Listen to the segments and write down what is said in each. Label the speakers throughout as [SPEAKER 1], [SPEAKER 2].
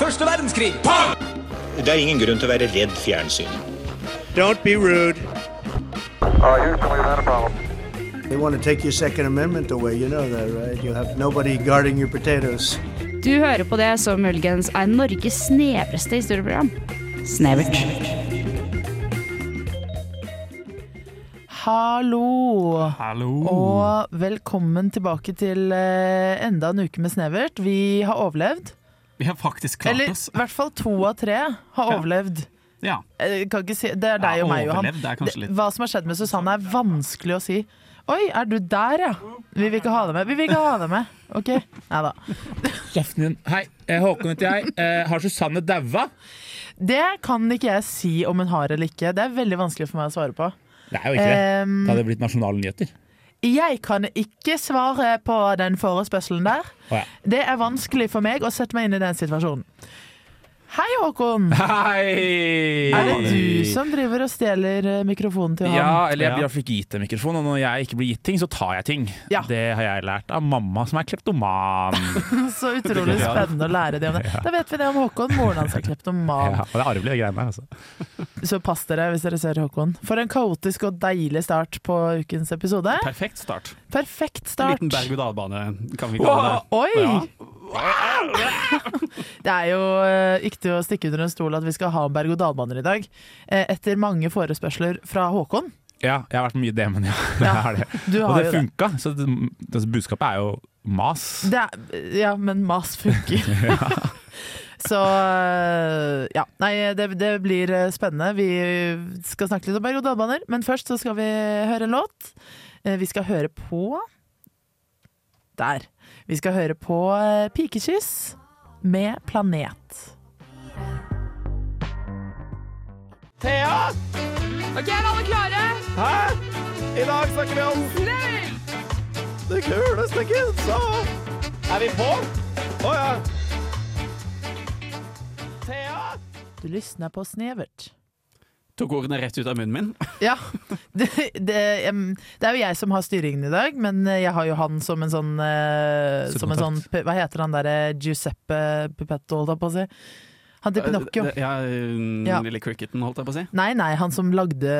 [SPEAKER 1] Første verdenskrig.
[SPEAKER 2] Det er ingen grunn til å være redd fjernsyn.
[SPEAKER 3] Don't be rude.
[SPEAKER 4] Uh, Houston, we've had a problem.
[SPEAKER 5] They want to take your Second Amendment away. You know that, right? You have nobody guarding your potatoes.
[SPEAKER 6] Du hører på det som muligens er Norges snevreste historieprogram. Snevert.
[SPEAKER 7] Hallo! Og velkommen tilbake til eh, enda en uke med Snevert. Vi har overlevd.
[SPEAKER 8] Vi har faktisk klart
[SPEAKER 7] Eller
[SPEAKER 8] oss.
[SPEAKER 7] i hvert fall to av tre har overlevd.
[SPEAKER 8] Ja.
[SPEAKER 7] Eh, Kan ikke si, det er deg
[SPEAKER 8] Ja,
[SPEAKER 7] og meg, Johan.
[SPEAKER 8] overlevd er kanskje
[SPEAKER 7] Det-
[SPEAKER 8] litt-
[SPEAKER 7] Hva som har skjedd med Susanne, er vanskelig å si. Oi, er du der, ja? Vi vil ikke ha deg med. Vi vil ikke ha deg med. OK? Nei da.
[SPEAKER 9] Kjeften din. Hei, eh, Håkon heter jeg. Eh, har Susanne daua?
[SPEAKER 7] Det kan ikke jeg si om hun har eller ikke. Det er veldig vanskelig for meg å svare på.
[SPEAKER 9] Det er jo ikke det.
[SPEAKER 7] Ehm,
[SPEAKER 9] Det hadde blitt nasjonale nyheter.
[SPEAKER 7] Jeg kan ikke svare på den forespørselen der.
[SPEAKER 9] Å, ja.
[SPEAKER 7] Det er vanskelig for meg å sette meg inn i den situasjonen. Hei, Håkon.
[SPEAKER 9] Hei!
[SPEAKER 7] Er det du som driver og stjeler eh, mikrofonen til han?
[SPEAKER 9] Ja, eller jeg blir i hvert fall ikke gitt en mikrofon, og når jeg ikke blir gitt ting, så tar jeg ting.
[SPEAKER 7] Ja.
[SPEAKER 9] Det har jeg lært av mamma, som er kleptoman.
[SPEAKER 7] Så utrolig spennende å lære det om det. Da vet vi det om Håkon. Moren hans er kleptoman.
[SPEAKER 9] Ja, og det er arvelig, de greiene der. Altså.
[SPEAKER 7] Så pass dere hvis dere ser Håkon. For en kaotisk og deilig start på ukens episode.
[SPEAKER 8] Perfekt start.
[SPEAKER 7] Perfekt
[SPEAKER 8] En
[SPEAKER 7] start.
[SPEAKER 8] liten berg-og-dal-bane, kan vi kalle det.
[SPEAKER 7] Oi!
[SPEAKER 8] Ja.
[SPEAKER 7] Det er jo eh, ikke til å stikke under en stol at vi skal ha en berg-og-dal-baner i dag. eh, Etter mange forespørsler fra Håkon.
[SPEAKER 9] Ja, jeg har vært med mye i det, men ja, det
[SPEAKER 7] Ja,
[SPEAKER 9] er det.
[SPEAKER 7] Du
[SPEAKER 9] Og
[SPEAKER 7] har
[SPEAKER 9] det
[SPEAKER 7] jo det.
[SPEAKER 9] funka, så det, det, budskapet er jo mas.
[SPEAKER 7] det er, ja, men mas funker. Så eh, ja. Nei, det, det blir eh, spennende. Vi skal snakke litt om berg-og-dal-baner, men først så skal vi høre en låt. Eh, Vi skal høre på Der. Vi skal høre på eh, Pikekyss med Planet. Du lysner på Snevert.
[SPEAKER 8] Tok ordene rett ut av munnen min.
[SPEAKER 7] Ja. Det, det, em, det er jo jeg som har styringen i dag, men eh, jeg har jo han som en sånn, eh, som en sånn
[SPEAKER 9] Subkontrakt.
[SPEAKER 7] Hva heter han derre Giuseppe Pupetto, holdt jeg på å si? Han til Pinocchio.
[SPEAKER 8] Eh, Det- Ja, um,
[SPEAKER 7] Ja.
[SPEAKER 8] Lille cricketen, holdt jeg på å si.
[SPEAKER 7] Nei, nei, han som lagde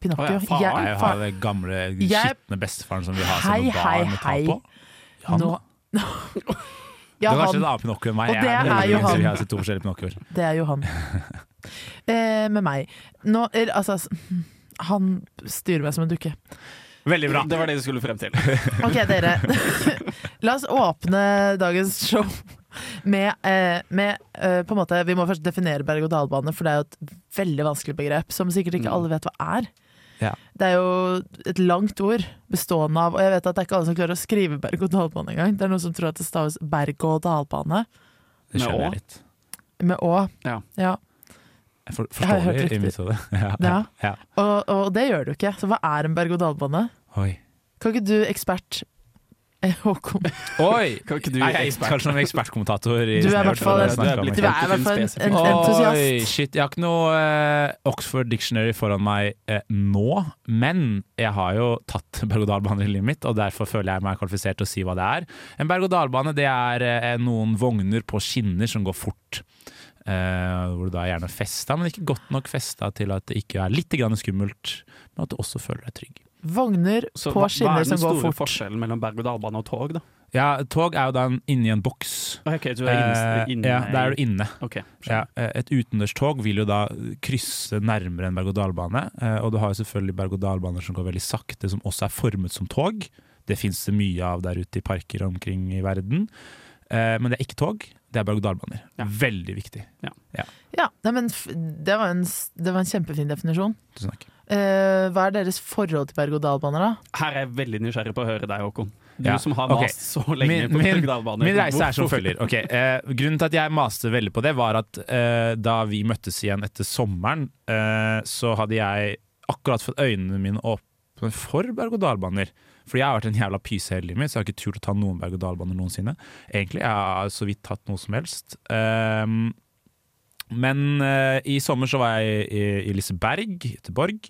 [SPEAKER 7] Pinocchio.
[SPEAKER 8] Å ja, faren
[SPEAKER 7] Jeg-
[SPEAKER 9] Jeg har
[SPEAKER 7] far-
[SPEAKER 9] den gamle,
[SPEAKER 7] Jeg-
[SPEAKER 9] skitne bestefaren som vi har som
[SPEAKER 7] Hei,
[SPEAKER 9] noe
[SPEAKER 7] hei,
[SPEAKER 9] barn å ta
[SPEAKER 7] hei.
[SPEAKER 9] på. Han,
[SPEAKER 7] Nå-
[SPEAKER 9] det
[SPEAKER 7] ja,
[SPEAKER 9] var kanskje
[SPEAKER 7] han,
[SPEAKER 9] en annen Pinocchio enn meg.
[SPEAKER 7] Og
[SPEAKER 9] Jeg
[SPEAKER 7] det er jo
[SPEAKER 9] muligens,
[SPEAKER 7] han.
[SPEAKER 9] Vi har sett to forskjellige Pinocchioer.
[SPEAKER 7] det er jo han. Eh, med meg. Nå, er- altså s- Han styrer meg som en dukke.
[SPEAKER 9] Veldig bra.
[SPEAKER 8] Det var det du skulle frem til.
[SPEAKER 7] Ok, dere. La oss åpne dagens show med, eh, med eh, på en måte, Vi må først definere berg-og-dal-bane, for det er jo et veldig vanskelig begrep som sikkert ikke alle vet hva er.
[SPEAKER 9] Mm. Ja.
[SPEAKER 7] Det er jo et langt ord bestående av Og jeg vet at det er ikke alle som klarer å skrive berg-og-dal-bane engang. Det er noen som tror at det staves berg-og-dal-bane
[SPEAKER 9] Det
[SPEAKER 8] Med
[SPEAKER 9] skjønner
[SPEAKER 8] å.
[SPEAKER 9] jeg litt.
[SPEAKER 7] med å.
[SPEAKER 8] Ja.
[SPEAKER 7] Ja.
[SPEAKER 9] Jeg for,
[SPEAKER 7] Jeg har hørt
[SPEAKER 9] forstår det i
[SPEAKER 7] riktig.
[SPEAKER 9] mitt hode. Ja,
[SPEAKER 7] Ja.
[SPEAKER 9] ja.
[SPEAKER 7] Og, og det gjør du ikke. Så hva er en berg-og-dal-bane?
[SPEAKER 9] Oi.
[SPEAKER 7] Kan ikke du, ekspert eh, Håkon
[SPEAKER 9] Oi!
[SPEAKER 8] Kan ikke du
[SPEAKER 9] Nei, jeg er ekspert. kanskje noen ekspertkommentator. i
[SPEAKER 7] Du er i
[SPEAKER 9] Snevert,
[SPEAKER 7] hvert fall
[SPEAKER 9] og det
[SPEAKER 7] en-
[SPEAKER 9] jeg snakker om,
[SPEAKER 8] blitt
[SPEAKER 7] Du
[SPEAKER 9] ikke
[SPEAKER 7] er
[SPEAKER 9] sant?
[SPEAKER 7] i hvert fall en, en
[SPEAKER 9] Oi,
[SPEAKER 7] entusiast.
[SPEAKER 9] shit. Jeg har ikke noe eh, Oxford Dictionary foran meg eh, nå, men jeg har jo tatt berg-og-dal-bane i livet mitt, og derfor føler jeg meg kvalifisert til å si hva det er. En berg-og-dal-bane det er eh, noen vogner på skinner som går fort. Eh, hvor du da er gjerne festa, men ikke godt nok festa til at det ikke er litt grann skummelt, men at du også føler deg trygg.
[SPEAKER 7] Vogner
[SPEAKER 8] Så
[SPEAKER 7] på
[SPEAKER 8] hva, hva
[SPEAKER 7] skinner
[SPEAKER 8] er den
[SPEAKER 7] som går
[SPEAKER 8] store
[SPEAKER 7] fort.
[SPEAKER 8] forskjellen mellom berg-og-dal-bane og tog, da?
[SPEAKER 9] Ja, Tog er jo da en- inni en boks.
[SPEAKER 8] Ok, du er inne,
[SPEAKER 9] Eh,
[SPEAKER 8] inne
[SPEAKER 9] ja, der er du inne.
[SPEAKER 8] Ok,
[SPEAKER 9] Ja,
[SPEAKER 8] skjønner.
[SPEAKER 9] eh, et utendørstog vil jo da krysse nærmere en berg-og-dal-bane. eh, Og du har jo selvfølgelig berg-og-dal-baner som går veldig sakte, som også er formet som tog. Det fins det mye av der ute i parker omkring i verden. Eh, Men det er ikke tog, det er berg-og-dal-baner.
[SPEAKER 8] Ja.
[SPEAKER 9] Veldig viktig.
[SPEAKER 7] Ja, nei, men f- det var, en, s- det var en kjempefin definisjon.
[SPEAKER 9] Tusen takk.
[SPEAKER 7] Eh, hva er deres forhold til berg-og-dal-baner, da?
[SPEAKER 8] Her er jeg veldig nysgjerrig på å høre deg, Håkon. Du
[SPEAKER 9] Ja,
[SPEAKER 8] som har
[SPEAKER 9] ok.
[SPEAKER 8] mast så lenge
[SPEAKER 9] Min-
[SPEAKER 8] på
[SPEAKER 9] min-
[SPEAKER 8] berg-og-dal-bane.
[SPEAKER 9] Min reise er som
[SPEAKER 8] Hvorfor-
[SPEAKER 9] følger. Ok, eh, grunnen til at jeg maste veldig på det, var at eh, da vi møttes igjen etter sommeren, eh, så hadde jeg akkurat fått øynene mine åpne for berg-og-dal-baner. Fordi jeg har vært en jævla pyse hele livet mitt, så jeg har ikke turt å ta noen berg-og-dal-baner noensinne. Egentlig, Jeg har så vidt tatt noe som helst. Ehm, men eh, i sommer så var jeg i, i Liseberg, Göteborg,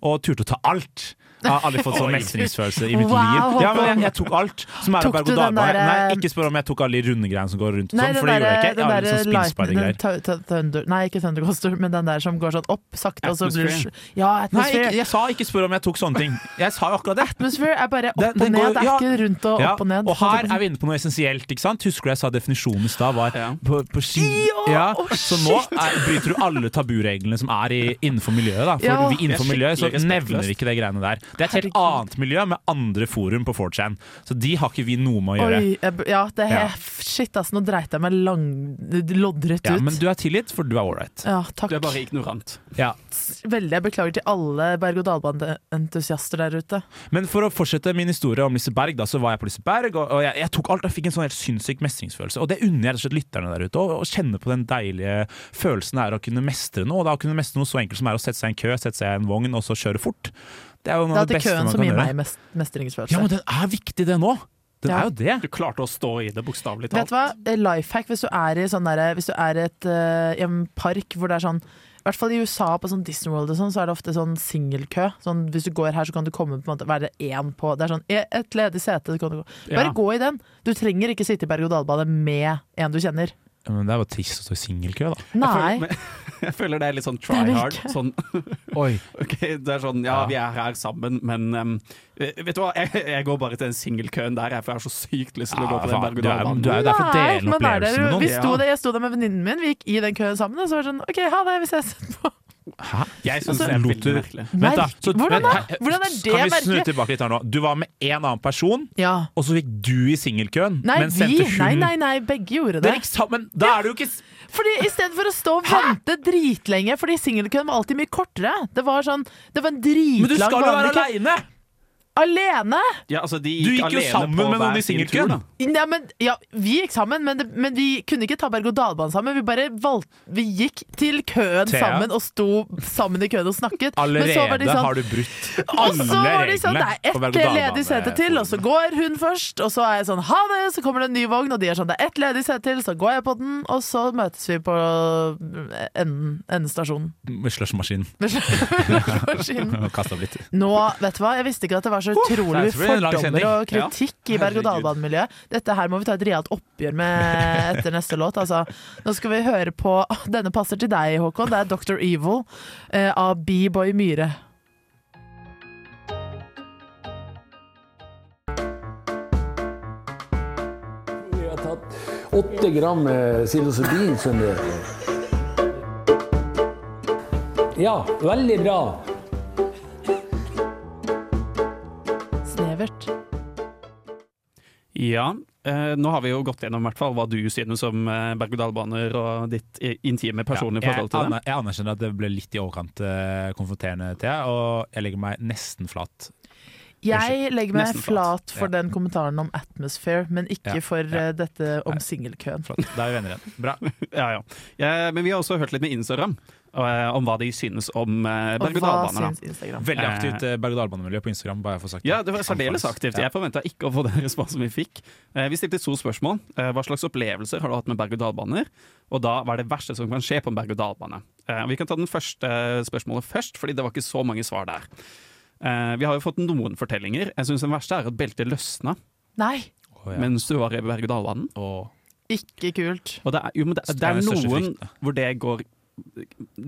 [SPEAKER 9] og turte å ta alt. Jeg har aldri fått sånn mestringsfølelse i mitt
[SPEAKER 7] Wow,
[SPEAKER 9] liv. Ja, men
[SPEAKER 7] Håkon.
[SPEAKER 9] jeg, jeg tok alt som er
[SPEAKER 7] Tok
[SPEAKER 9] av berg
[SPEAKER 7] du
[SPEAKER 9] og
[SPEAKER 7] den
[SPEAKER 9] dalbane.
[SPEAKER 7] der,
[SPEAKER 9] Nei,
[SPEAKER 7] eh,
[SPEAKER 9] ikke spør om jeg tok alle de rundegreiene som går rundt og
[SPEAKER 7] Nei,
[SPEAKER 9] sånn,
[SPEAKER 7] den
[SPEAKER 9] for det gjorde jeg
[SPEAKER 7] derre-
[SPEAKER 9] ikke. Jeg har
[SPEAKER 7] den eh,
[SPEAKER 9] litt sånn
[SPEAKER 7] derre Lightning
[SPEAKER 9] spinnspider-greier.
[SPEAKER 7] Thu- Thu- Thunder Nei, ikke Thunder Coaster, men den der som går sånn opp sakte, og så blir du
[SPEAKER 8] Atmosphere.
[SPEAKER 7] Ja,
[SPEAKER 9] Nei,
[SPEAKER 7] atmosphere.
[SPEAKER 9] ikke, jeg sa ikke spør om jeg tok sånne ting. Jeg sa jo akkurat det.
[SPEAKER 7] Atmosphere er bare opp
[SPEAKER 9] Den-
[SPEAKER 7] og
[SPEAKER 9] den
[SPEAKER 7] ned,
[SPEAKER 9] går-
[SPEAKER 7] det er
[SPEAKER 9] ja.
[SPEAKER 7] ikke rundt og
[SPEAKER 9] Ja,
[SPEAKER 7] opp og ned.
[SPEAKER 9] Og her er vi inne på noe essensielt. ikke sant? Husker du jeg sa definisjonen i stad var
[SPEAKER 8] Ja.
[SPEAKER 9] på, på ski?
[SPEAKER 7] Ja,
[SPEAKER 9] så nå er, bryter du alle tabureglene som er i, innenfor miljøet. da For
[SPEAKER 7] Ja.
[SPEAKER 9] vi, innenfor
[SPEAKER 8] Det er
[SPEAKER 9] miljøet så
[SPEAKER 8] skikkelig
[SPEAKER 9] nevner
[SPEAKER 8] respektløst.
[SPEAKER 9] vi ikke det greiene der. Det er et helt
[SPEAKER 7] Herregud.
[SPEAKER 9] annet miljø med andre forum på 4chan, så de har ikke vi noe med å gjøre.
[SPEAKER 7] Oi, jeg, b- ja, det er
[SPEAKER 9] Ja.
[SPEAKER 7] f- Shit, ass, nå dreit jeg meg lang, loddrett ut.
[SPEAKER 9] Ja, men du er tilgitt, for du er ålreit.
[SPEAKER 7] Ja, takk.
[SPEAKER 8] Du er bare ignorant.
[SPEAKER 9] Ja.
[SPEAKER 7] Veldig. Jeg beklager til alle berg-og-dal-bane-entusiaster der ute.
[SPEAKER 9] Men for å fortsette min historie om Liseberg, da, så var jeg på Liseberg, og, og jeg, jeg tok alt og fikk en sånn helt sinnssyk mestringsfølelse. Og det unner jeg rett og slett lytterne der ute, å- å kjenne på den deilige følelsen det er å kunne mestre noe. Og da å kunne mestre noe så enkelt som er å sette seg i en kø, sette seg i en vogn og så kjøre fort. Det er jo
[SPEAKER 7] Det
[SPEAKER 9] noe
[SPEAKER 7] er
[SPEAKER 9] av det
[SPEAKER 7] alltid
[SPEAKER 9] beste
[SPEAKER 7] køen
[SPEAKER 9] man
[SPEAKER 7] som
[SPEAKER 9] kan
[SPEAKER 7] gir
[SPEAKER 9] gjøre.
[SPEAKER 7] meg mest mestringsfølelse.
[SPEAKER 9] Ja, men den er viktig, den òg! Den
[SPEAKER 7] Ja.
[SPEAKER 9] er jo det.
[SPEAKER 8] Du klarte å stå i det, bokstavelig
[SPEAKER 7] Vet
[SPEAKER 8] talt.
[SPEAKER 7] du hva? Life hack hvis du er i, sånn derre- hvis du er i et, eh, i en park hvor det er sånn I hvert fall i USA på sånn Disney World og sånn, så er det ofte sånn singelkø. Sånn, hvis du går her, så kan du komme på en måte være én på Det er sånn e- et ledig sete, så kan du gå. Bare
[SPEAKER 8] Ja.
[SPEAKER 7] gå i den. Du trenger ikke sitte i berg-og-dal-bane med en du kjenner.
[SPEAKER 9] Ja, Men det er jo trist å stå i singelkø, da.
[SPEAKER 8] Jeg føler-
[SPEAKER 7] Nei.
[SPEAKER 8] men- Jeg føler det er litt sånn
[SPEAKER 7] er
[SPEAKER 8] try
[SPEAKER 7] det
[SPEAKER 8] hard.
[SPEAKER 7] ikke.
[SPEAKER 8] Sånn, ok, det er sånn, ja, vi er her sammen, men em, vet du hva, jeg, jeg går bare til den singelkøen der, jeg, for jeg har så sykt lyst til å gå
[SPEAKER 9] Ja,
[SPEAKER 8] på den
[SPEAKER 9] faen, du, er,
[SPEAKER 8] berg-og-dal-banen.
[SPEAKER 9] du er jo der for å
[SPEAKER 7] Nei,
[SPEAKER 9] dele
[SPEAKER 7] men er
[SPEAKER 9] opplevelsen
[SPEAKER 7] dere-
[SPEAKER 9] med
[SPEAKER 7] vi
[SPEAKER 9] noen.
[SPEAKER 7] sto der, jeg sto der med venninnen min, vi gikk i den køen sammen, og så var det sånn OK, ha det, vi ses.
[SPEAKER 9] Hæ?
[SPEAKER 8] Jeg synes
[SPEAKER 9] Altså,
[SPEAKER 8] det er
[SPEAKER 9] lot
[SPEAKER 8] veldig
[SPEAKER 9] du-
[SPEAKER 8] merkelig.
[SPEAKER 9] Vent da,
[SPEAKER 7] Merk- Hvordan da?
[SPEAKER 9] Hei,
[SPEAKER 7] Hvordan er det
[SPEAKER 9] Kan vi snu
[SPEAKER 7] merkelig?
[SPEAKER 9] tilbake litt her nå? Du var med en annen person.
[SPEAKER 7] Ja.
[SPEAKER 9] Og så gikk du i singelkøen,
[SPEAKER 7] Nei,
[SPEAKER 9] men
[SPEAKER 7] vi,
[SPEAKER 9] sendte hun
[SPEAKER 7] nei, nei, nei, begge gjorde
[SPEAKER 9] Dere
[SPEAKER 7] det.
[SPEAKER 9] gikk sammen! Da er du jo ikke s-
[SPEAKER 7] Fordi Istedenfor å stå og vente dritlenge, fordi singelkøen var alltid mye kortere. Det var sånn, det var en dritlang
[SPEAKER 9] Men du skal jo
[SPEAKER 7] vanlig
[SPEAKER 9] være
[SPEAKER 7] kø.
[SPEAKER 9] aleine!
[SPEAKER 7] Alene!
[SPEAKER 8] Ja, altså, de
[SPEAKER 9] Du gikk jo
[SPEAKER 8] alene
[SPEAKER 9] sammen
[SPEAKER 8] på
[SPEAKER 9] med noen
[SPEAKER 8] hver
[SPEAKER 9] i
[SPEAKER 8] sin tur,
[SPEAKER 9] singelkøen.
[SPEAKER 8] da.
[SPEAKER 7] Ja, men, ja, vi gikk sammen, men, det, men vi kunne ikke ta berg-og-dal-banen sammen. Vi bare valgte, vi gikk til køen
[SPEAKER 9] Thea?
[SPEAKER 7] sammen og sto sammen i køen og snakket. men så var
[SPEAKER 9] Allerede
[SPEAKER 7] de sånn,
[SPEAKER 9] har du brutt
[SPEAKER 7] Og så
[SPEAKER 9] alle
[SPEAKER 7] var de sånn, det
[SPEAKER 9] reglene.
[SPEAKER 7] er
[SPEAKER 9] på
[SPEAKER 7] ett
[SPEAKER 9] berg-og-dal-bane.
[SPEAKER 7] ledig sete til, og så går hun først. Og så er jeg sånn, ha det, så kommer det en ny vogn, og de er sånn, det er ett ledig sete til, så går jeg på den, og så møtes vi på eh, enden, endestasjonen.
[SPEAKER 8] Mm,
[SPEAKER 9] Med slushmaskinen.
[SPEAKER 7] Maskinen.
[SPEAKER 9] Og kastet opp litt.
[SPEAKER 7] Nå, vet du hva, jeg visste ikke at det var så utrolig
[SPEAKER 9] det
[SPEAKER 7] mye
[SPEAKER 9] er- det blir en lang
[SPEAKER 7] fordommer
[SPEAKER 9] sending.
[SPEAKER 7] og kritikk i berg-og-dal-banen-miljøet. Dette her må vi ta et realt oppgjør med etter neste låt, altså. Nå skal vi høre på Denne passer til deg, Håkon. Det er Dr. Evil eh, av B-Boy Myhre.
[SPEAKER 1] Jeg har tatt åtte gram eh, psilocybin. skjønner du. Ja, veldig bra.
[SPEAKER 7] Snevert.
[SPEAKER 8] Ja, eh, nå har vi jo gått gjennom i hvert fall hva du synes om eh, berg-og-dal-baner og ditt eh, intime personlige
[SPEAKER 9] jeg,
[SPEAKER 8] forhold til det.
[SPEAKER 9] aner- jeg anerkjenner at det ble litt i overkant eh, konfronterende til deg, og jeg legger meg nesten flat.
[SPEAKER 7] Jeg legger meg
[SPEAKER 8] Nesten flat.
[SPEAKER 7] flat for
[SPEAKER 9] Ja.
[SPEAKER 7] den kommentaren om atmosphere, men ikke
[SPEAKER 9] Ja,
[SPEAKER 7] for
[SPEAKER 9] ja.
[SPEAKER 7] eh, dette
[SPEAKER 9] Nei.
[SPEAKER 7] om singelkøen.
[SPEAKER 9] flat. Da er vi venner igjen. Bra.
[SPEAKER 8] Ja, ja. Eh, Men vi har også hørt litt med Instagram eh, om hva de synes om eh,
[SPEAKER 7] Og hva
[SPEAKER 8] berg-og-dal-baner. da.
[SPEAKER 7] syns Instagram?
[SPEAKER 9] Veldig aktivt eh, berg-og-dal-banemiljø på Instagram. Bare jeg får sagt
[SPEAKER 8] Ja, det var særdeles aktivt.
[SPEAKER 9] Ja.
[SPEAKER 8] Jeg forventa ikke å få den responsen vi fikk. Eh, Vi stilte to spørsmål. Eh, Hva slags opplevelser har du hatt med berg-og-dal-baner? Og da hva er det verste som kan skje på en berg-og-dal-bane? Eh, Vi kan ta den første eh, spørsmålet først, fordi det var ikke så mange svar der. Eh, Vi har jo fått noen fortellinger. Jeg syns den verste er at beltet løsna
[SPEAKER 7] Nei,
[SPEAKER 9] Å, ja.
[SPEAKER 8] mens du var i berg-og-dal-banen.
[SPEAKER 9] Å.
[SPEAKER 7] ikke kult.
[SPEAKER 8] Og det er, jo, men det,
[SPEAKER 9] Det er
[SPEAKER 8] det er
[SPEAKER 9] den største
[SPEAKER 8] noen hvor det går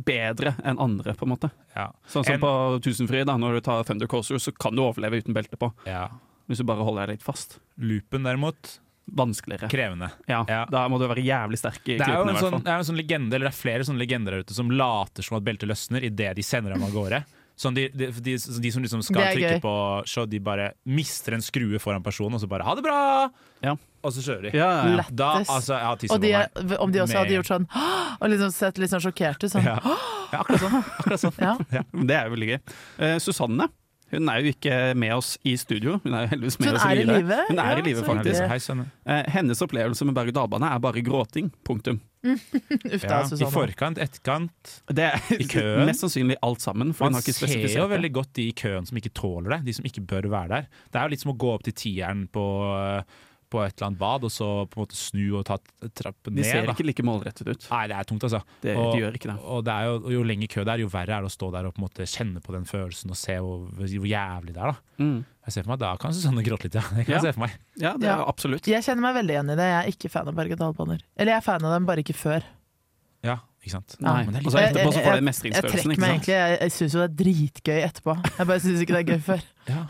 [SPEAKER 8] bedre enn andre, på en måte.
[SPEAKER 9] Ja.
[SPEAKER 8] Sånn som
[SPEAKER 9] En-
[SPEAKER 8] på Tusenfryd, da, når du tar Thunder Coaster, så kan du overleve uten belte på.
[SPEAKER 9] ja.
[SPEAKER 8] Hvis du bare holder deg litt fast.
[SPEAKER 9] Loopen derimot,
[SPEAKER 8] Vanskeligere.
[SPEAKER 9] krevende.
[SPEAKER 8] Ja,
[SPEAKER 9] Ja.
[SPEAKER 8] Da må du være jævlig sterk i
[SPEAKER 9] Det er jo
[SPEAKER 8] klutene, i
[SPEAKER 9] en
[SPEAKER 8] hvert
[SPEAKER 9] sånn,
[SPEAKER 8] fall.
[SPEAKER 9] det er en sånn legende, eller det er flere sånne legender der ute som later som at beltet løsner idet de sender dem av gårde. Sånn de, de, de, de som liksom skal
[SPEAKER 7] Det er gøy.
[SPEAKER 9] trykke på show, de bare mister en skrue foran personen, og så bare 'ha det bra',
[SPEAKER 8] Ja.
[SPEAKER 9] og så kjører de.
[SPEAKER 8] sånn- Ja, ja, ja.
[SPEAKER 7] Lett.
[SPEAKER 9] Da, altså, jeg har tisset
[SPEAKER 7] Og
[SPEAKER 9] på
[SPEAKER 7] de,
[SPEAKER 9] meg.
[SPEAKER 7] om de også hadde
[SPEAKER 9] Med-
[SPEAKER 7] gjort sånn «Åh!» og liksom sett litt sånn sjokkert ut. Sånn.
[SPEAKER 9] Ja. Ja, akkurat sånn. Akkurat sånn.
[SPEAKER 7] Ja.
[SPEAKER 8] Det er jo veldig gøy. Eh, Susanne hun er jo ikke med oss i studio. Hun er jo heldigvis
[SPEAKER 7] Så
[SPEAKER 8] med
[SPEAKER 7] hun
[SPEAKER 8] oss i
[SPEAKER 7] er i
[SPEAKER 8] live.
[SPEAKER 7] live?
[SPEAKER 8] Hun er
[SPEAKER 7] Ja,
[SPEAKER 8] i live,
[SPEAKER 7] så
[SPEAKER 8] faktisk.
[SPEAKER 7] hyggelig.
[SPEAKER 9] Hei, sønne.
[SPEAKER 8] Eh, hennes opplevelse med berg-og-dal-bane er bare gråting. Punktum.
[SPEAKER 7] Uff da,
[SPEAKER 9] Ja, I
[SPEAKER 7] Susanne.
[SPEAKER 9] forkant, etterkant.
[SPEAKER 8] Det er
[SPEAKER 9] I køen?
[SPEAKER 8] mest sannsynlig alt sammen. For hun
[SPEAKER 9] Man
[SPEAKER 8] har ikke
[SPEAKER 9] ser
[SPEAKER 8] spesifisert
[SPEAKER 9] jo
[SPEAKER 8] det.
[SPEAKER 9] veldig godt de i køen som ikke tåler det, de som ikke bør være der. Det er jo litt som å gå opp til tieren på, eh, på et eller annet bad, og så på en måte snu og ta trappen
[SPEAKER 8] De ser
[SPEAKER 9] ned. Da.
[SPEAKER 8] ikke like målrettet ut.
[SPEAKER 9] Nei, det er tungt, altså.
[SPEAKER 8] Det,
[SPEAKER 9] og,
[SPEAKER 8] de gjør ikke det.
[SPEAKER 9] og det er jo, og jo lenger kø det er, jo verre er det å stå der og på en måte kjenne på den følelsen og se hvor, hvor jævlig det er. da.
[SPEAKER 8] Mm.
[SPEAKER 9] Jeg ser for meg, Da kan Susanne gråte litt, ja. Det kan
[SPEAKER 8] Ja.
[SPEAKER 9] jeg se for meg.
[SPEAKER 8] Ja, det er
[SPEAKER 7] Ja.
[SPEAKER 8] absolutt.
[SPEAKER 7] Jeg kjenner meg veldig igjen i det. Jeg er ikke fan av berg-og-dal-baner. Eller jeg er fan av dem, bare ikke før.
[SPEAKER 9] Ja, ikke sant?
[SPEAKER 8] Nei,
[SPEAKER 7] Ja.
[SPEAKER 9] men det er
[SPEAKER 8] Og
[SPEAKER 9] litt-
[SPEAKER 8] så etterpå så får du
[SPEAKER 7] Jeg-
[SPEAKER 8] den
[SPEAKER 7] Jeg
[SPEAKER 8] mestringsfølelsen.
[SPEAKER 7] trekker
[SPEAKER 8] Ikke
[SPEAKER 7] meg
[SPEAKER 8] sant?
[SPEAKER 7] egentlig Jeg, jeg syns jo det er dritgøy etterpå. Jeg bare syns ikke det er gøy før.
[SPEAKER 9] Ja,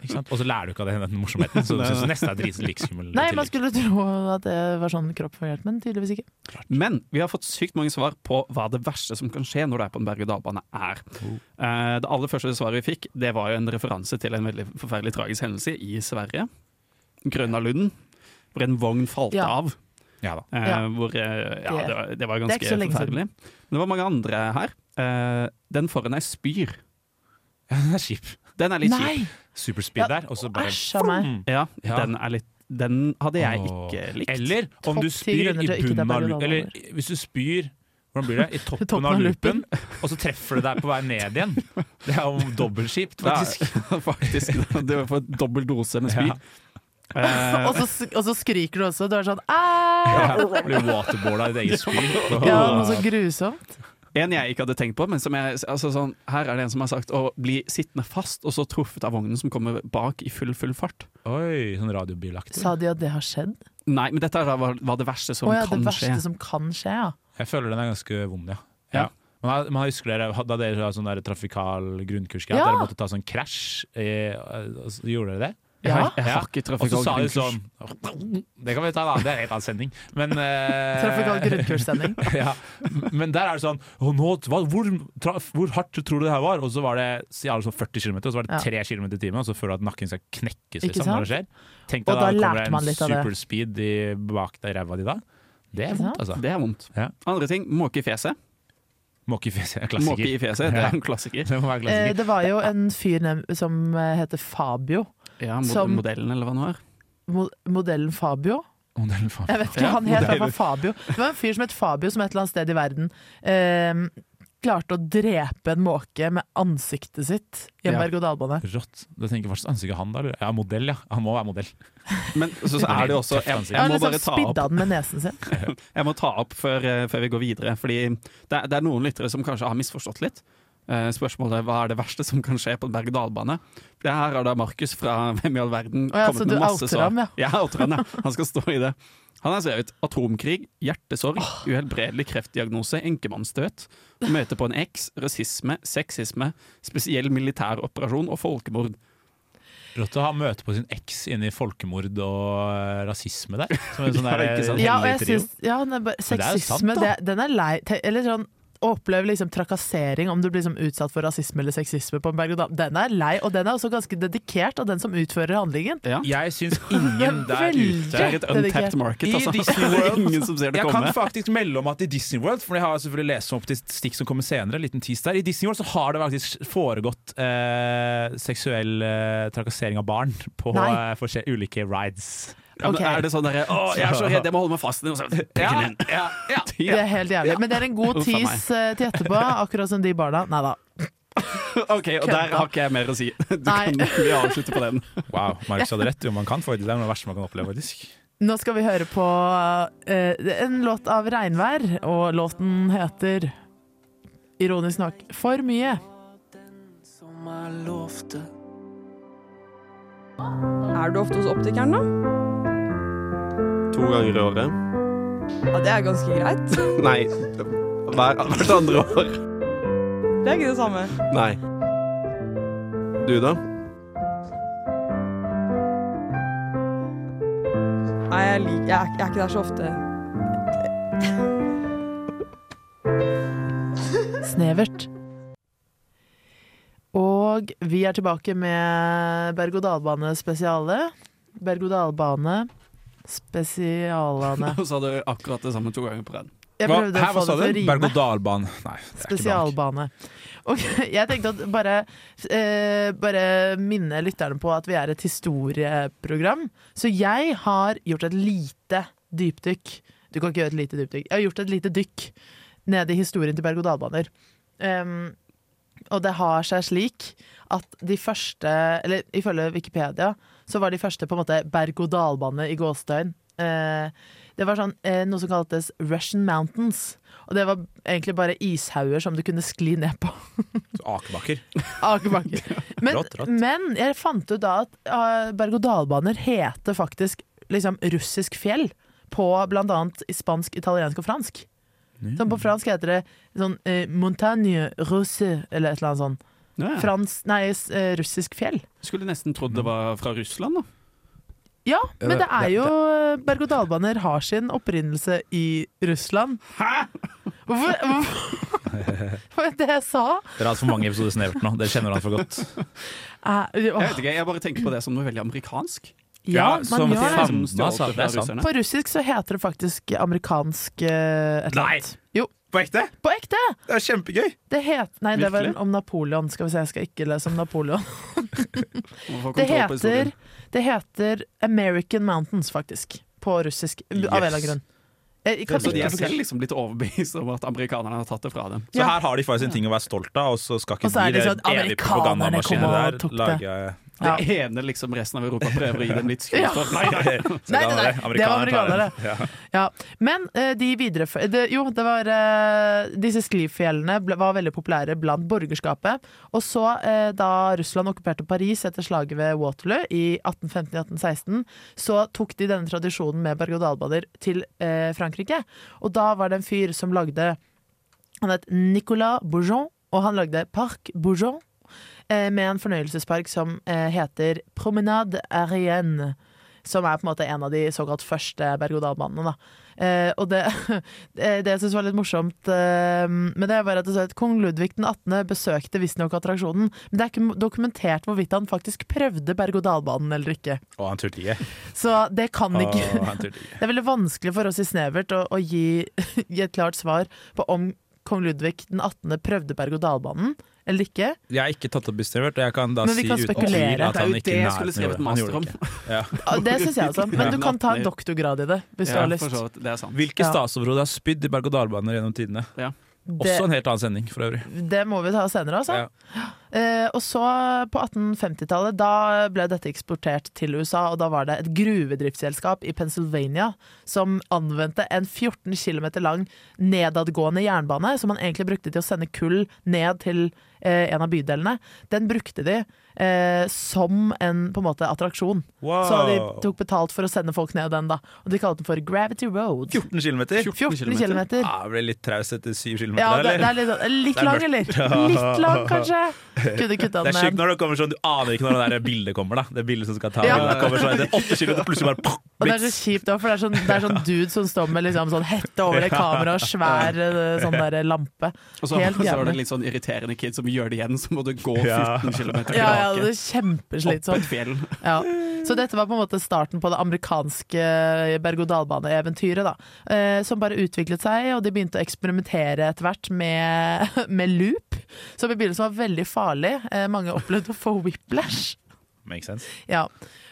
[SPEAKER 9] ikke sant? Og så lærer du ikke av den, den morsomheten, så du syns nesten er dritskummel.
[SPEAKER 7] Nei, man skulle tro at det var sånn kropp fungerte, men tydeligvis ikke.
[SPEAKER 8] Men vi har fått sykt mange svar på hva det verste som kan skje når du er på en berg-og-dal-bane, er. Eh, Det aller første svaret vi fikk, det var jo en referanse til en veldig forferdelig tragisk hendelse i Sverige. Grønnalunden, hvor en vogn falt
[SPEAKER 7] Ja.
[SPEAKER 8] av.
[SPEAKER 9] Ja da.
[SPEAKER 8] Eh,
[SPEAKER 7] Ja.
[SPEAKER 8] Hvor, eh, ja, det, var, det var
[SPEAKER 7] Det er
[SPEAKER 8] ganske
[SPEAKER 7] ikke så lenge
[SPEAKER 8] forferdelig. Men det var mange andre her. Eh, Den foran ei spyr.
[SPEAKER 9] Ja, den er kjip.
[SPEAKER 8] Den er litt kjip.
[SPEAKER 9] Superspeed
[SPEAKER 7] Ja,
[SPEAKER 9] der, og så bare
[SPEAKER 7] Æsj av meg.
[SPEAKER 8] Ja,
[SPEAKER 9] Ja.
[SPEAKER 8] Den, er litt, den hadde jeg
[SPEAKER 9] Åh.
[SPEAKER 8] ikke likt.
[SPEAKER 9] Eller om
[SPEAKER 7] Topp
[SPEAKER 9] du
[SPEAKER 7] ti
[SPEAKER 9] spyr
[SPEAKER 7] grunner
[SPEAKER 9] i
[SPEAKER 7] til å ikke ta
[SPEAKER 9] bunnen av
[SPEAKER 7] berg-og-dal-baner.
[SPEAKER 9] loopen. Eller hvis du spyr hvordan blir det? I toppen, av loopen, og så treffer det deg på vei ned igjen. Det er jo dobbeltskipt,
[SPEAKER 8] Ja,
[SPEAKER 9] faktisk.
[SPEAKER 8] faktisk. Du får dobbel dose med spyr.
[SPEAKER 9] Ja.
[SPEAKER 8] Eh,
[SPEAKER 7] Og så, sk- og så skriker du også. Du er sånn Æ!
[SPEAKER 9] Ja, blir waterboarda i ditt eget spyr.
[SPEAKER 7] Ja, noe så grusomt.
[SPEAKER 8] En jeg ikke hadde tenkt på, men som jeg, altså sånn, her er det en som har sagt å bli sittende fast og så truffet av vognen som kommer bak i full, full fart.
[SPEAKER 9] Oi, sånn radiobilaktig.
[SPEAKER 7] Sa de at det har skjedd?
[SPEAKER 8] Nei, men dette er da hva hva det verste som
[SPEAKER 7] Å ja, det
[SPEAKER 8] kan
[SPEAKER 7] verste
[SPEAKER 8] skje.
[SPEAKER 7] som kan skje, ja.
[SPEAKER 9] Jeg føler den er ganske vond, ja.
[SPEAKER 8] Ja.
[SPEAKER 9] ja. Man, har- man husker dere, Da dere hadde sånn der trafikal grunnkursgreie,
[SPEAKER 7] Ja.
[SPEAKER 9] dere måtte ta sånn krasj. eh, og så Gjorde dere det?
[SPEAKER 8] Jeg har- Jeg
[SPEAKER 7] Ja.
[SPEAKER 8] har ikke
[SPEAKER 9] Og så
[SPEAKER 8] trafikal
[SPEAKER 9] sa de
[SPEAKER 8] grunnkurs.
[SPEAKER 9] sånn Det kan vi ta, da. Det er en annen sending. Men, eh,
[SPEAKER 7] Trafikal grunnkurssending.
[SPEAKER 9] ja. Men der er det sånn «Å, nå, hva, hvor, tra, hvor hardt tror du det her var? Og så var det så jævlig sånn 40 km, og så var det
[SPEAKER 7] Ja.
[SPEAKER 9] 3 km i timen, og så føler du at nakken skal knekkes.
[SPEAKER 7] Ikke
[SPEAKER 9] Liksom, når det skjer. Tenk deg
[SPEAKER 7] Og da
[SPEAKER 9] da,
[SPEAKER 7] lærte
[SPEAKER 9] kommer det
[SPEAKER 7] man
[SPEAKER 9] en
[SPEAKER 7] litt av det.
[SPEAKER 9] superspeed i, bak deg i ræva di da. Det er
[SPEAKER 7] Ikke
[SPEAKER 9] vondt, altså.
[SPEAKER 8] Det er vondt.
[SPEAKER 9] Ja.
[SPEAKER 8] Andre ting, måke i fjeset.
[SPEAKER 9] Måke i fjeset er
[SPEAKER 8] Måke i
[SPEAKER 9] klassiker.
[SPEAKER 8] fjeset, det
[SPEAKER 9] Ja.
[SPEAKER 8] er en klassiker.
[SPEAKER 9] Det må være
[SPEAKER 7] Eh,
[SPEAKER 9] klassiker.
[SPEAKER 7] Det var jo en fyr nem- som eh, heter Fabio.
[SPEAKER 8] Ja, mod
[SPEAKER 7] Som-
[SPEAKER 8] Modellen, eller hva det nå er.
[SPEAKER 7] Mo- Modellen Fabio?
[SPEAKER 9] Å, det er en faen.
[SPEAKER 7] Jeg vet ikke,
[SPEAKER 8] Ja,
[SPEAKER 7] han het i hvert
[SPEAKER 8] modellen.
[SPEAKER 7] fall Fabio. Det var en fyr som het Fabio, som et eller annet sted i verden eh, klarte å drepe en måke med ansiktet sitt i en
[SPEAKER 9] Ja.
[SPEAKER 7] berg-og-dal-bane.
[SPEAKER 9] Rått. Da tenker jeg faktisk ansiktet han, da. lurer jeg. Ja, modell, ja. Han må være modell.
[SPEAKER 8] Men så, så er det jo også Jeg, jeg
[SPEAKER 7] Han
[SPEAKER 8] må
[SPEAKER 7] liksom
[SPEAKER 8] bare ta opp,
[SPEAKER 7] spidda den med nesen sin.
[SPEAKER 8] jeg må ta opp før, eh, før vi går videre, fordi det er, det er noen lyttere som kanskje har misforstått litt. Eh, Spørsmålet er hva er det verste som kan skje på en berg-og-dal-bane. Det her har da Markus fra Hvem i all verden
[SPEAKER 7] Å ja, så
[SPEAKER 8] kommet
[SPEAKER 7] du
[SPEAKER 8] med masse
[SPEAKER 7] outer
[SPEAKER 8] svar.
[SPEAKER 7] ham, ja.
[SPEAKER 8] Jeg outer ham, ja. Han skal stå i det. Han har skrevet atomkrig, hjertesorg, uhelbredelig kreftdiagnose, enkemannsdød, møte på en eks, rasisme, sexisme, spesiell militær operasjon og folkemord.
[SPEAKER 9] Rått å ha møte på sin eks inni folkemord og eh, rasisme der. Som en sånn
[SPEAKER 8] Ja,
[SPEAKER 9] der,
[SPEAKER 8] ikke sant?
[SPEAKER 9] eh,
[SPEAKER 7] Ja, og
[SPEAKER 9] hellig
[SPEAKER 7] jeg
[SPEAKER 9] trio.
[SPEAKER 7] synes, ja, den er bare,
[SPEAKER 9] Men det er jo sant,
[SPEAKER 7] sexisme,
[SPEAKER 9] da.
[SPEAKER 7] det, den er lei te- Eller sånn å oppleve liksom trakassering om du blir liksom utsatt for rasisme eller sexisme på en berg-og-dal. Den er lei, og den er også ganske dedikert av den som utfører handlingen.
[SPEAKER 8] Ja.
[SPEAKER 9] Jeg syns ingen der
[SPEAKER 7] Veldig.
[SPEAKER 9] ute
[SPEAKER 8] Det er et
[SPEAKER 7] Det er det ikke.
[SPEAKER 8] untapped market,
[SPEAKER 9] I
[SPEAKER 8] altså.
[SPEAKER 9] Disney
[SPEAKER 8] Det er
[SPEAKER 9] World.
[SPEAKER 8] Ingen som ser det
[SPEAKER 9] Jeg
[SPEAKER 8] komme.
[SPEAKER 9] kan faktisk melde om at i Disney World For jeg har selvfølgelig lest meg opp til stikk som kommer senere en liten tease der. I Disney World så har det faktisk foregått eh, seksuell eh, trakassering av barn på
[SPEAKER 7] Nei.
[SPEAKER 9] eh, forskjell- ulike rides.
[SPEAKER 8] Ja, men
[SPEAKER 7] Ok.
[SPEAKER 8] Er det sånn derre 'Å, jeg er så redd, jeg må holde meg fast'? Og så- Prikken inn.
[SPEAKER 7] Det er helt jævlig. Men det er en god
[SPEAKER 8] Uff a meg.
[SPEAKER 7] tease eh, til etterpå, akkurat som de barna. Nei da.
[SPEAKER 8] OK, og der har ikke jeg mer å si. Du
[SPEAKER 7] Nei.
[SPEAKER 8] kan, vi avslutter på den.
[SPEAKER 9] Wow, Marius hadde rett. Jo, man kan få det. Det er noe av det verste man kan oppleve, faktisk.
[SPEAKER 7] Nå skal vi høre på eh, en låt av Regnvær, og låten heter Ironisk nok For mye.
[SPEAKER 10] Er du ofte hos optikeren, da?
[SPEAKER 11] To ganger i året.
[SPEAKER 10] Ja, det er ganske greit.
[SPEAKER 11] Nei, hver, hvert andre år.
[SPEAKER 10] Det er ikke det samme.
[SPEAKER 11] Nei. Du, da?
[SPEAKER 10] Nei, jeg, lik, jeg, er- jeg er ikke der så ofte.
[SPEAKER 7] Snevert. Og vi er tilbake med berg-og-dal-bane-spesiale. Berg-og-dal-bane-spesialene.
[SPEAKER 8] Og så hadde du akkurat det samme to ganger på rad.
[SPEAKER 7] Jeg
[SPEAKER 9] Hva,
[SPEAKER 7] prøvde
[SPEAKER 9] her,
[SPEAKER 7] å
[SPEAKER 9] hva
[SPEAKER 7] få
[SPEAKER 9] sa
[SPEAKER 7] det til
[SPEAKER 9] du?
[SPEAKER 7] å rime.
[SPEAKER 9] Berg-og-dal-bane. Nei, det er ikke berg.
[SPEAKER 7] Spesialbane. Ok, jeg tenkte at bare, eh, bare minne lytterne på at vi er et historieprogram. Så jeg har gjort et lite dypdykk. Du kan ikke gjøre et lite dypdykk. Jeg har gjort et lite dykk ned i historien til berg-og-dal-baner. Em, og det har seg slik at de første Eller ifølge Wikipedia så var de første på en måte berg-og-dal-bane i gåstøyen. Eh, det var sånn, eh, noe som kaltes Russian Mountains. Og det var egentlig bare ishauger som du kunne skli ned på.
[SPEAKER 9] Akebakker.
[SPEAKER 7] Akebakker. Men,
[SPEAKER 9] Rått, rått.
[SPEAKER 7] men jeg fant ut da at eh, berg-og-dal-baner heter faktisk liksom russisk fjell. På blant annet i spansk, italiensk og fransk. Sånn på fransk heter det sånn eh, montagne russe, eller et eller annet sånt.
[SPEAKER 8] Ja, ja.
[SPEAKER 7] Frans, nei, s- eh, russisk fjell.
[SPEAKER 8] Skulle nesten trodd det var fra Russland, da.
[SPEAKER 7] Ja,
[SPEAKER 9] Ja,
[SPEAKER 7] men
[SPEAKER 9] det-
[SPEAKER 7] det er jo berg-og-dal-baner har sin opprinnelse i Russland. Hvorfor, hvorfor Hvorfor Det jeg sa
[SPEAKER 9] Dere har hatt for mange episoder snevert nå. Dere kjenner han for godt.
[SPEAKER 7] er
[SPEAKER 8] Jeg
[SPEAKER 7] åh,
[SPEAKER 8] vet ikke, jeg bare tenker på det som noe veldig amerikansk.
[SPEAKER 7] Ja, man
[SPEAKER 9] som
[SPEAKER 7] gjør
[SPEAKER 8] liksom
[SPEAKER 7] det.
[SPEAKER 9] savna sa- det er sant.
[SPEAKER 7] På russisk så heter det faktisk amerikansk eh, et eller
[SPEAKER 9] Nei.
[SPEAKER 7] annet. Jo,
[SPEAKER 9] På ekte?
[SPEAKER 7] på ekte!
[SPEAKER 9] Det er kjempegøy!
[SPEAKER 7] Det het, nei, det var
[SPEAKER 8] Virkelig?
[SPEAKER 7] om Napoleon. Skal vi se, jeg skal ikke lese om Napoleon.
[SPEAKER 8] Man får
[SPEAKER 7] Det
[SPEAKER 8] kontroll på historien.
[SPEAKER 7] heter, det heter American Mountains, faktisk. På russisk. Av en eller annen
[SPEAKER 9] Yes.
[SPEAKER 7] grunn. Jeg, jeg kan
[SPEAKER 8] Så de
[SPEAKER 7] ikke
[SPEAKER 8] er selv
[SPEAKER 7] forklare.
[SPEAKER 8] liksom blitt overbevist om at amerikanerne har tatt det fra dem.
[SPEAKER 9] Så her har de faktisk en ting å være stolt av, og så skal ikke
[SPEAKER 7] Og så er
[SPEAKER 9] de
[SPEAKER 7] det sånn,
[SPEAKER 9] den evige
[SPEAKER 7] amerikanerne kom
[SPEAKER 9] propagandamaskinen
[SPEAKER 7] og
[SPEAKER 9] der
[SPEAKER 7] tok det.
[SPEAKER 9] lage
[SPEAKER 7] Ja.
[SPEAKER 8] Det ene liksom resten av Europa prøver å gi dem litt skryt
[SPEAKER 7] Ja.
[SPEAKER 8] for. Nei, nei, nei.
[SPEAKER 9] Se,
[SPEAKER 7] Nei,
[SPEAKER 9] da
[SPEAKER 7] nei,
[SPEAKER 9] var
[SPEAKER 7] nei,
[SPEAKER 9] det.
[SPEAKER 7] det var
[SPEAKER 9] Amerikanerne tar den.
[SPEAKER 7] Ja. Men eh, de videreførte det, Jo, det var eh, Disse sklifjellene ble, var veldig populære blant borgerskapet. Og så, eh, da Russland okkuperte Paris etter slaget ved Waterloo i 1815-1816, så tok de denne tradisjonen med berg-og-dal-baner til eh, Frankrike. Og da var det en fyr som lagde Han het Nicolas Bourgeon, og han lagde Parc Bourgeon. eh, Med en fornøyelsespark som eh, heter Promenade Arienne som er på en måte en av de såkalt første berg-og-dal-banene. da. Eh, og det, det jeg synes var litt morsomt eh, med det, var at det står at kong Ludvig den 18. besøkte visstnok attraksjonen, men det er ikke dokumentert hvorvidt han faktisk prøvde berg-og-dal-banen eller ikke.
[SPEAKER 9] Å, han turte ikke.
[SPEAKER 7] Så det kan
[SPEAKER 9] Å,
[SPEAKER 7] ikke
[SPEAKER 9] han turte ikke.
[SPEAKER 7] Det er veldig vanskelig for oss i Snevert å, å gi, gi et klart svar på om kong Ludvig den 18. prøvde berg-og-dal-banen eller ikke.
[SPEAKER 9] Jeg har ikke tatt opp Bistrevert, og jeg kan da
[SPEAKER 7] Men vi
[SPEAKER 9] si
[SPEAKER 7] kan
[SPEAKER 9] uten
[SPEAKER 7] spekulere.
[SPEAKER 9] tvil
[SPEAKER 8] Det
[SPEAKER 9] at
[SPEAKER 8] er
[SPEAKER 9] han
[SPEAKER 8] jo
[SPEAKER 9] ikke
[SPEAKER 8] det
[SPEAKER 9] i
[SPEAKER 8] jeg skulle
[SPEAKER 9] nærheten gjorde
[SPEAKER 8] skrevet
[SPEAKER 9] det. Han gjorde
[SPEAKER 8] master om.
[SPEAKER 9] det ikke. Ja.
[SPEAKER 7] Ah, Det syns jeg også, men du kan ta en doktorgrad i det hvis du
[SPEAKER 8] Ja,
[SPEAKER 7] har lyst.
[SPEAKER 8] for så vidt. Det er sant.
[SPEAKER 9] Hvilke
[SPEAKER 7] Ja.
[SPEAKER 9] statsråder har spydd i berg-og-dal-baner gjennom tidene?
[SPEAKER 7] Det-
[SPEAKER 9] Også en helt annen sending, for øvrig.
[SPEAKER 7] Det må vi ta senere, altså. Eh, og så på 1850-tallet, da ble dette eksportert til USA, og da var det et gruvedriftsselskap i Pennsylvania som anvendte en 14 km lang nedadgående jernbane, som man egentlig brukte til å sende kull ned til eh, en av bydelene. Den brukte de eh, som en på en måte attraksjon.
[SPEAKER 9] Wow.
[SPEAKER 7] Så de tok betalt for å sende folk ned den, da. Og de kalte den for Gravity Road.
[SPEAKER 9] 14 kilometer?
[SPEAKER 7] 14 kilometer.
[SPEAKER 9] Ja, jeg ble litt traus etter 7 km,
[SPEAKER 7] Ja, det,
[SPEAKER 9] eller?
[SPEAKER 7] det er litt, sånn, litt
[SPEAKER 9] Det er
[SPEAKER 7] lang,
[SPEAKER 9] mørkt.
[SPEAKER 7] eller? Litt lang, kanskje. Kunne kutta
[SPEAKER 9] Det
[SPEAKER 7] den
[SPEAKER 9] er sjukt
[SPEAKER 7] ned.
[SPEAKER 9] når det kommer sånn, du aner ikke når det der bildet kommer. da Det bildet som skal ta
[SPEAKER 7] Ja.
[SPEAKER 9] Det kommer sånn etter åtte kilo, og plutselig bare poff,
[SPEAKER 7] Og det er så
[SPEAKER 9] blits.
[SPEAKER 7] kjipt også, for det er, sånn, det er sånn dude som står med liksom, sånn hette over det kameraet og svær eh, sånn der lampe.
[SPEAKER 8] Og så,
[SPEAKER 7] Helt
[SPEAKER 8] så er
[SPEAKER 7] jævlig.
[SPEAKER 8] det litt sånn irriterende kid som gjør det igjen, så må du gå
[SPEAKER 9] Ja.
[SPEAKER 8] 14 km tilbake.
[SPEAKER 7] Ja, ja,
[SPEAKER 8] opp
[SPEAKER 7] det er sånn.
[SPEAKER 8] et
[SPEAKER 7] kjempeslitsomt.
[SPEAKER 8] fjell.
[SPEAKER 7] Ja. Så dette var på en måte starten på det amerikanske berg-og-dal-bane-eventyret, da. Eh, som bare utviklet seg, og de begynte å eksperimentere etter hvert med, med loop, som i begynnelsen var veldig farlig. Eh, mange opplevde å få whiplash.
[SPEAKER 9] Makes sense.
[SPEAKER 7] Ja.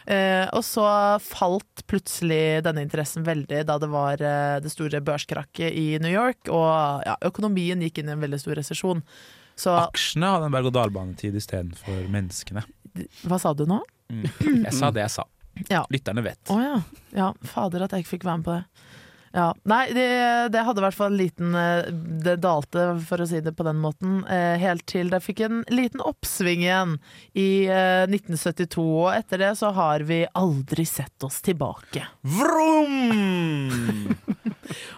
[SPEAKER 7] Eh, og så falt plutselig denne interessen veldig da det var eh, det store børskrakket i New York, og ja, økonomien gikk inn i en veldig stor resesjon. Så
[SPEAKER 9] Aksjene hadde en berg-og-dal-banetid istedenfor menneskene.
[SPEAKER 7] hva sa du nå?
[SPEAKER 9] Mm. Jeg sa det jeg sa.
[SPEAKER 7] Ja.
[SPEAKER 9] Lytterne vet.
[SPEAKER 7] Å ja. ja. Fader, at jeg ikke fikk være med på det. Ja. Nei, det, det hadde i hvert fall en liten eh, Det dalte, for å si det på den måten, eh, helt til det fikk en liten oppsving igjen i eh, 1972. Og etter det så har vi aldri sett oss tilbake.
[SPEAKER 9] Vroom!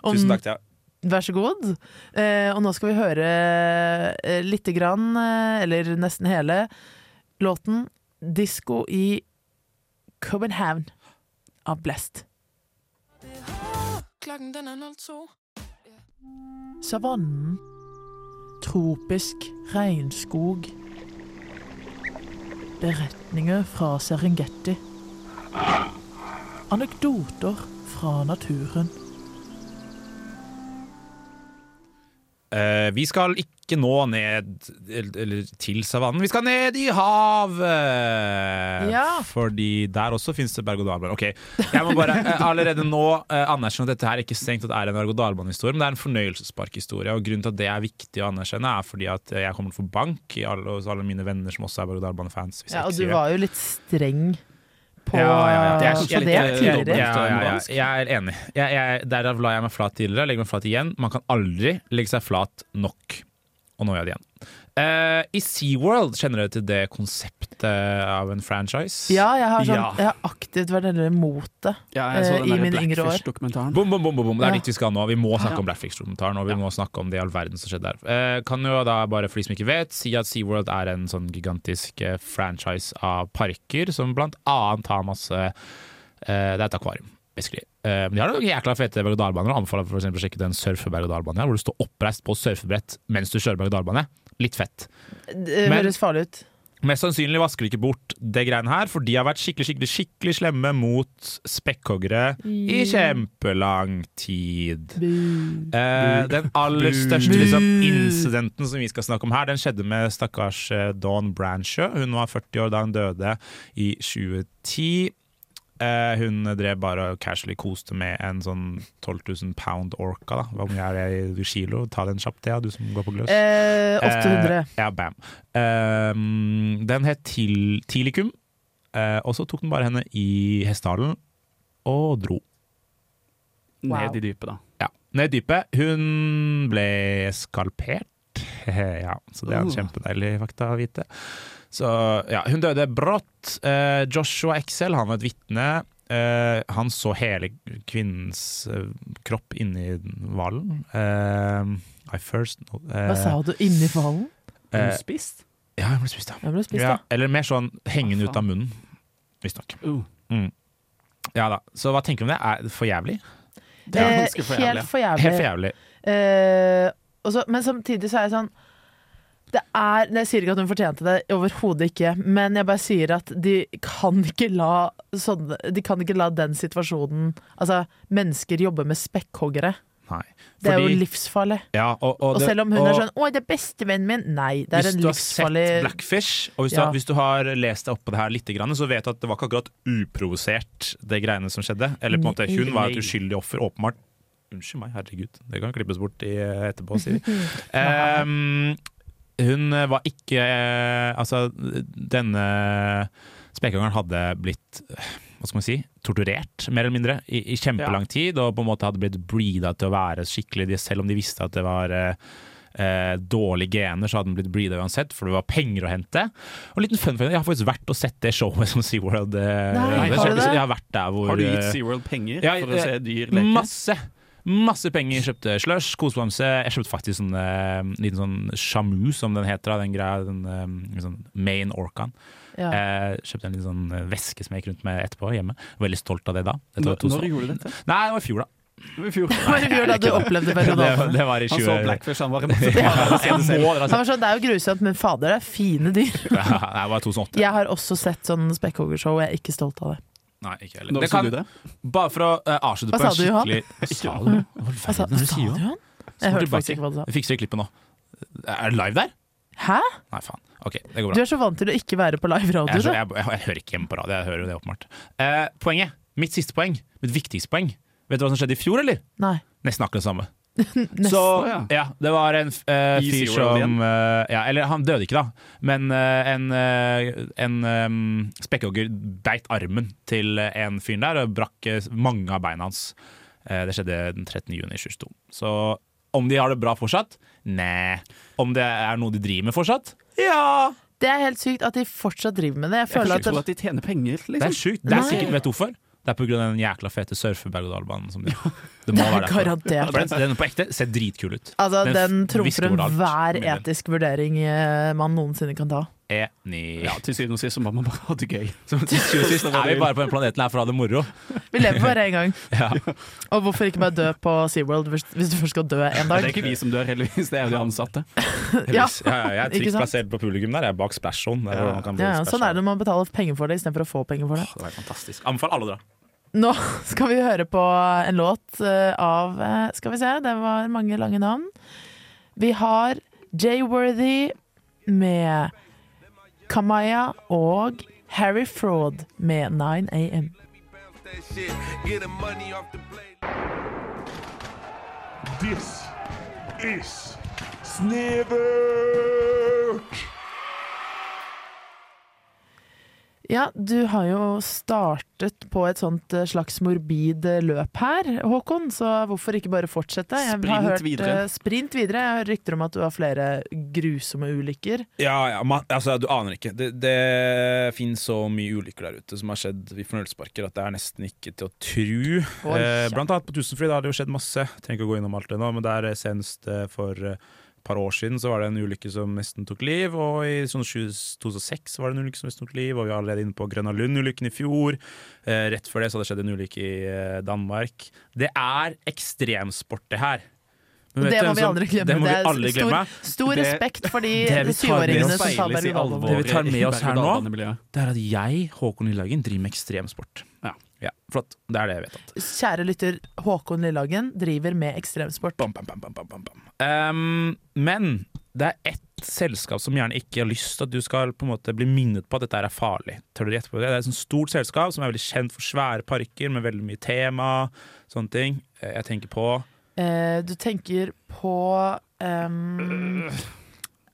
[SPEAKER 7] Og
[SPEAKER 9] Tusen takk, Thea.
[SPEAKER 7] Vær så god. Eh, og nå skal vi høre eh, lite grann, eh, eller nesten hele, låten 'Disko i Copenhagen' av Blest. Savannen. Tropisk regnskog. Beretninger fra Serengeti. Anekdoter fra naturen.
[SPEAKER 9] Eh, vi skal ikke nå ned eller, eller til savannen, vi skal ned i havet!
[SPEAKER 7] Ja.
[SPEAKER 9] Fordi der også fins det berg-og-dal-bane. Ok, jeg må bare eh, allerede nå eh, anerkjenne at dette her ikke strengt tatt er en berg-og-dal-bane-historie, men det er en fornøyelsesparkhistorie. Og grunnen til at det er viktig å anerkjenne, er fordi at eh, jeg kommer til å få bank i alle, hos alle mine venner som også er berg-og-dal-bane-fans. hvis jeg
[SPEAKER 7] Ja, og
[SPEAKER 9] ikke
[SPEAKER 7] du
[SPEAKER 9] sier det.
[SPEAKER 7] var jo litt streng på
[SPEAKER 9] Ja, ja, ja. Det er-
[SPEAKER 7] Så
[SPEAKER 9] jeg er
[SPEAKER 7] det er
[SPEAKER 9] litt-
[SPEAKER 7] tidligere.
[SPEAKER 9] Ja, ja, ja. Jeg er enig. Jeg, jeg, derav la jeg meg flat tidligere. Jeg legger meg flat igjen. Man kan aldri legge seg flat nok. Og nå gjør jeg det igjen. Eh, I SeaWorld kjenner dere til det konseptet av en franchise?
[SPEAKER 7] Ja, jeg har, sånn,
[SPEAKER 9] Ja.
[SPEAKER 7] jeg har aktivt vært heller imot det.
[SPEAKER 8] Ja, jeg så
[SPEAKER 7] eh,
[SPEAKER 8] den
[SPEAKER 7] i
[SPEAKER 8] der
[SPEAKER 7] mine yngre år.
[SPEAKER 8] Blackfish-dokumentaren.
[SPEAKER 9] Bom, bom, bom, bom, bom. Det er
[SPEAKER 7] Ja.
[SPEAKER 9] dit vi skal nå. Vi må snakke
[SPEAKER 8] Ja.
[SPEAKER 9] om Blackfix-dokumentaren og vi må snakke om det i all verden som skjedde der. Eh, kan jo da bare for de som ikke vet, si at SeaWorld er en sånn gigantisk eh, franchise av parker som blant annet har masse eh, Det er et akvarium, basically. Eh, men de har noen jækla fete berg-og-dal-baner. Anbefaler for eksempel å sjekke ut en surfe-berg-og-dal-bane her, hvor du står oppreist på surfebrett mens du kjører berg-og-dal-bane. Litt fett.
[SPEAKER 7] Det
[SPEAKER 9] Men-
[SPEAKER 7] høres farlig ut.
[SPEAKER 9] Mest sannsynlig vasker de ikke bort det greiene her, for de har vært skikkelig skikkelig, skikkelig slemme mot spekkhoggere i
[SPEAKER 8] Mm.
[SPEAKER 9] kjempelang tid. Eh, den aller største liksom, incidenten som vi skal snakke om her, den skjedde med stakkars eh, Dawn Branchø. Hun var 40 år da hun døde i 2010. Eh, hun drev bare og casually koste med en sånn 12 000 pound orca. Da. Hvor mye er det i kilo? Ta den kjapt, Thea, du som går på gløs.
[SPEAKER 7] Eh, 800.
[SPEAKER 9] Eh, ja, bam. Ehm, den het til Tilikum, eh, og så tok den bare henne i hestehalen og dro.
[SPEAKER 8] Ned i dypet, da.
[SPEAKER 9] Ja, ned i dypet. Hun ble skalpert. ja, så det er en
[SPEAKER 8] Oh.
[SPEAKER 9] kjempedeilig fakta å vite. Så ja, hun døde brått. Eh, Joshua Excel, han var et vitne. Eh, han så hele kvinnens eh, kropp inni hvalen. Eh, I first know
[SPEAKER 7] Hva sa du? Inni hvalen?
[SPEAKER 9] Eh,
[SPEAKER 8] Spist?
[SPEAKER 9] ja, hun ble spist, ja.
[SPEAKER 7] Jeg ble spist,
[SPEAKER 9] Ja,
[SPEAKER 7] da.
[SPEAKER 9] eller mer sånn hengende
[SPEAKER 8] Hva
[SPEAKER 9] ut av munnen, visstnok.
[SPEAKER 8] Uh,
[SPEAKER 9] Ja da. Så hva tenker du om det? Er det for jævlig?
[SPEAKER 8] det er
[SPEAKER 7] Eh,
[SPEAKER 8] ganske for jævlig.
[SPEAKER 7] Helt for jævlig.
[SPEAKER 9] Helt for jævlig.
[SPEAKER 7] Eh, og så- men samtidig så er jeg sånn det er, Jeg sier ikke at hun fortjente det, overhodet ikke, men jeg bare sier at de kan ikke la sånne, De kan ikke la den situasjonen Altså, mennesker jobber med spekkhoggere.
[SPEAKER 9] Nei.
[SPEAKER 7] Det er jo
[SPEAKER 9] Fordi-
[SPEAKER 7] livsfarlig.
[SPEAKER 9] ja, og, og
[SPEAKER 7] Og
[SPEAKER 9] det-
[SPEAKER 7] selv om hun
[SPEAKER 9] og
[SPEAKER 7] er sånn 'Å, det er bestevennen min', nei, det er
[SPEAKER 9] hvis
[SPEAKER 7] en
[SPEAKER 9] du har sett
[SPEAKER 7] livsfarlig
[SPEAKER 9] Blackfish, og hvis,
[SPEAKER 7] Ja.
[SPEAKER 9] du, har- hvis du har lest deg opp på det her litt, grann, så vet du at det var ikke akkurat uprovosert, det greiene som skjedde. Eller på en måte, hun var et
[SPEAKER 8] Nei.
[SPEAKER 9] uskyldig offer, åpenbart. Unnskyld meg, herregud. Det kan klippes bort i, etterpå, sier vi. Ehm, hun var ikke eh, Altså, denne spekkhoggeren hadde blitt eh, hva skal man si, torturert, mer eller mindre, i, i kjempelang tid, og på en måte hadde blitt breeda til å være skikkelig, de- selv om de visste at det var eh, eh, dårlige gener, så hadde den blitt breeda uansett, for det var penger å hente. Og en liten fun fact, jeg har faktisk vært og sett det showet som SeaWorld eh,
[SPEAKER 7] Nei,
[SPEAKER 9] det
[SPEAKER 7] har du
[SPEAKER 9] showet-
[SPEAKER 7] det?
[SPEAKER 9] Jeg har vært der hvor
[SPEAKER 8] Har du gitt
[SPEAKER 9] eh,
[SPEAKER 8] SeaWorld penger
[SPEAKER 9] ja,
[SPEAKER 8] for å
[SPEAKER 9] eh,
[SPEAKER 8] se dyr leke?
[SPEAKER 9] Masse! Masse penger. Jeg kjøpte slush, kosebamse. Jeg kjøpte faktisk sånn eh, liten sånn sjamu, som den heter. da, Den greia, den eh, sånn main orcaen.
[SPEAKER 7] ja.
[SPEAKER 9] Eh, kjøpte en liten sånn eh, veske som jeg gikk rundt med etterpå hjemme. Veldig stolt av det da. Dette
[SPEAKER 8] Når,
[SPEAKER 9] var
[SPEAKER 8] når
[SPEAKER 9] 2000.
[SPEAKER 8] gjorde du dette?
[SPEAKER 9] Nei, det var i fjor, da.
[SPEAKER 8] I fjor.
[SPEAKER 7] Men i fjor da du opplevde Berg og
[SPEAKER 9] Det,
[SPEAKER 7] Dal-banen.
[SPEAKER 9] det var i
[SPEAKER 8] Han
[SPEAKER 9] 20...
[SPEAKER 8] så Blackfish, han var
[SPEAKER 9] Ja,
[SPEAKER 8] emosjonell.
[SPEAKER 9] jeg må dere ha
[SPEAKER 7] Han
[SPEAKER 9] sett.
[SPEAKER 7] var sånn, Det er jo grusomt, men fader, det er fine dyr.
[SPEAKER 9] Nei, det var 2008.
[SPEAKER 7] Jeg har også sett sånn spekkhoggershow, og jeg er ikke stolt av det.
[SPEAKER 9] Nei, ikke heller.
[SPEAKER 8] Når
[SPEAKER 9] Det
[SPEAKER 8] så
[SPEAKER 9] kan,
[SPEAKER 8] du det?
[SPEAKER 9] bare for å eh, avslutte
[SPEAKER 7] Hva
[SPEAKER 9] på en
[SPEAKER 7] sa du, Johan?
[SPEAKER 9] skikkelig Hva sa du? Hva
[SPEAKER 7] Altså,
[SPEAKER 9] verden er det du
[SPEAKER 7] sa
[SPEAKER 9] sier,
[SPEAKER 7] du
[SPEAKER 9] Johan?
[SPEAKER 7] han?
[SPEAKER 9] Spol
[SPEAKER 7] Jeg hørte
[SPEAKER 9] tilbake.
[SPEAKER 7] faktisk ikke hva du sa.
[SPEAKER 9] Jeg fikser det klippet nå. Er det live der?
[SPEAKER 7] Hæ?
[SPEAKER 9] Nei, faen. Ok, det går
[SPEAKER 7] Du
[SPEAKER 9] bra.
[SPEAKER 7] er så vant til å ikke være på live radio,
[SPEAKER 9] Jeg,
[SPEAKER 7] du.
[SPEAKER 9] jeg, jeg, jeg hører ikke hjemme på radio, jeg hører jo det åpenbart. Eh, poenget, mitt siste poeng, mitt viktigste poeng. Vet du hva som skjedde i fjor, eller?
[SPEAKER 7] Nei.
[SPEAKER 9] Nesten akkurat det samme.
[SPEAKER 7] Nesten.
[SPEAKER 9] Så
[SPEAKER 8] ja.
[SPEAKER 9] ja, det var en eh,
[SPEAKER 8] I
[SPEAKER 9] fyr
[SPEAKER 8] SeaWorld
[SPEAKER 9] som eh, ja, Eller han døde ikke, da. Men eh, en, eh, en eh, spekkhogger beit armen til eh, en fyr der og brakk eh, mange av beina hans. Eh, det skjedde den 13. juni 2022. Så om de har det bra fortsatt? Nei. Om det er noe de driver med fortsatt? Ja!
[SPEAKER 7] Det er helt sykt at de fortsatt driver med det. Jeg
[SPEAKER 8] Jeg kan
[SPEAKER 7] føler
[SPEAKER 8] ikke tro
[SPEAKER 7] at det,
[SPEAKER 8] at de tjener penger,
[SPEAKER 9] Det er
[SPEAKER 8] liksom.
[SPEAKER 9] sjukt. Det er
[SPEAKER 7] Nei.
[SPEAKER 9] sikkert, vet du hvorfor? Det er pga. den jækla fete surfe-berg-og-dal-banen. som de har. Det må være derfor.
[SPEAKER 7] garantert.
[SPEAKER 9] For Den, den på ekte ser dritkul ut.
[SPEAKER 7] Altså,
[SPEAKER 9] Den
[SPEAKER 7] Den
[SPEAKER 9] f-
[SPEAKER 7] trumfer
[SPEAKER 9] visker over alt,
[SPEAKER 7] enhver
[SPEAKER 9] mener jeg.
[SPEAKER 7] etisk vurdering eh, man noensinne kan ta.
[SPEAKER 9] E Enig.
[SPEAKER 8] Ja, til syvende og sist så må man bare ha det gøy.
[SPEAKER 9] Som til syvende og sist er vi bare på den planeten her for å ha det moro.
[SPEAKER 7] Vi lever bare én gang.
[SPEAKER 9] Ja.
[SPEAKER 7] Og hvorfor ikke bare dø på SeaWorld hvis, hvis du først skal dø en
[SPEAKER 8] Det
[SPEAKER 7] dag?
[SPEAKER 8] er ikke vi som dør, heldigvis. Det er jo de ansatte.
[SPEAKER 7] Ja.
[SPEAKER 9] ja, jeg er
[SPEAKER 7] Ikke
[SPEAKER 9] trygt
[SPEAKER 7] sant?
[SPEAKER 9] plassert på publikum der. Jeg er bak splash-on. Det er hvor man kan
[SPEAKER 7] Ja,
[SPEAKER 9] bli
[SPEAKER 7] ja, sånn er
[SPEAKER 9] splash-on.
[SPEAKER 7] det når man betaler penger for det istedenfor å få penger for det.
[SPEAKER 9] Åh, Det var fantastisk. Anbefal alle å dra.
[SPEAKER 7] Nå skal vi høre på en låt eh, av eh, Skal vi se, det var mange lange navn. Vi har Jayworthy med Kamaya og Harry Fraud med 9am.
[SPEAKER 12] This is Snevert!
[SPEAKER 7] Ja, du har jo startet på et sånt eh, slags morbid eh, løp her, Håkon, så hvorfor ikke bare fortsette? Jeg
[SPEAKER 13] Sprint
[SPEAKER 7] har hørt, eh,
[SPEAKER 13] videre.
[SPEAKER 7] Sprint videre. Jeg har rykter om at du har flere grusomme ulykker.
[SPEAKER 9] Ja, ja man, altså, du aner ikke. Det, det finnes så mye ulykker der ute som har skjedd i fornøyelsesparker at det er nesten ikke til å tru.
[SPEAKER 13] Oi,
[SPEAKER 9] eh,
[SPEAKER 13] ja.
[SPEAKER 9] blant annet på Tusenfryd har det jo skjedd masse. Trenger ikke å gå innom alt det nå, men der eh, senest eh, for eh, et par år siden så var det en ulykke som nesten tok liv, og i sånn 2006 var det en ulykke som nesten tok liv, og vi var allerede inne på Grønna Lund-ulykken i fjor. Eh, rett før det så hadde det skjedd en ulykke i eh, Danmark. Det er ekstremsport, det her. Men vet
[SPEAKER 7] Det må
[SPEAKER 9] du hvem
[SPEAKER 7] vi
[SPEAKER 9] som-
[SPEAKER 7] aldri glemme.
[SPEAKER 9] Det må vi
[SPEAKER 7] er
[SPEAKER 9] alle
[SPEAKER 7] stor-
[SPEAKER 9] glemme.
[SPEAKER 7] Stor
[SPEAKER 9] Det-
[SPEAKER 7] respekt for de
[SPEAKER 9] det vi tar med
[SPEAKER 7] 20-åringene
[SPEAKER 9] oss-
[SPEAKER 7] som tar berg og
[SPEAKER 9] Det vi tar med oss her nå, det er at jeg, Håkon Lillehagen, driver med ekstremsport. Ja. flott. Det er det jeg vet om.
[SPEAKER 7] Kjære lytter, Håkon Lillehagen driver med ekstremsport.
[SPEAKER 9] Um, men det er ett selskap som gjerne ikke har lyst til at du skal på en måte bli minnet på at dette her er farlig. Tør du gjette på det? Det er et sånt stort selskap som er veldig kjent for svære parker med veldig mye tema. Sånne ting. Eh, Jeg tenker på
[SPEAKER 7] Eh, du tenker på ehm,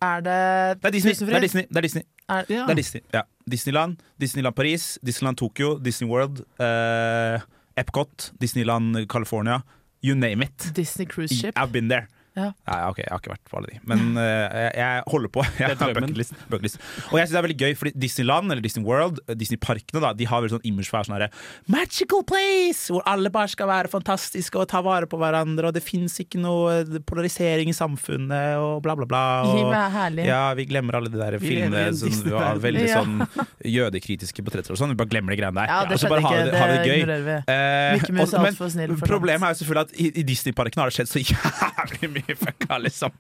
[SPEAKER 7] Er det
[SPEAKER 9] Det er Disney!
[SPEAKER 7] Tusenfryd?
[SPEAKER 9] Det er Disney. Det er Disney.
[SPEAKER 7] Er- ja.
[SPEAKER 9] Det er Disney. Ja. Disneyland, Disneyland Paris, Disneyland Tokyo, Disney World, eh, Epcot, Disneyland California. You name it.
[SPEAKER 7] Disney Cruise Ship.
[SPEAKER 9] I've been there.
[SPEAKER 7] Ja.
[SPEAKER 9] Nei, ok, Jeg har ikke vært på alle de, men eh, jeg- jeg holder på. Jeg har
[SPEAKER 13] drømmen.
[SPEAKER 9] bucketlist. bucketlist. Og jeg synes det er veldig gøy, fordi Disneyland eller Disney World, eh, Disneyparkene, da, de har veldig sånn image for å være sånn herre Magical place! Hvor alle bare skal være fantastiske og ta vare på hverandre, og det fins ikke noe polarisering i samfunnet, og bla, bla, bla. Og,
[SPEAKER 7] Livet er herlig.
[SPEAKER 9] Ja, vi glemmer alle de der
[SPEAKER 7] Vi lever i
[SPEAKER 9] filmene
[SPEAKER 7] en
[SPEAKER 9] som var
[SPEAKER 7] Disney-verden.
[SPEAKER 9] veldig
[SPEAKER 7] Ja.
[SPEAKER 9] sånn jødekritiske portretter og sånn. Vi bare glemmer de greiene der.
[SPEAKER 7] Ja, det
[SPEAKER 9] og så
[SPEAKER 7] skjedde
[SPEAKER 9] bare har
[SPEAKER 7] ikke.
[SPEAKER 9] vi det, har vi
[SPEAKER 7] Det
[SPEAKER 9] det gøy.
[SPEAKER 7] ignorerer vi.
[SPEAKER 9] Eh,
[SPEAKER 7] Mickey Mouse er
[SPEAKER 9] også-
[SPEAKER 7] alt for snill for
[SPEAKER 9] problemet er jo selvfølgelig at i, i Disneyparken har det skjedd så jævlig mye fucka, liksom.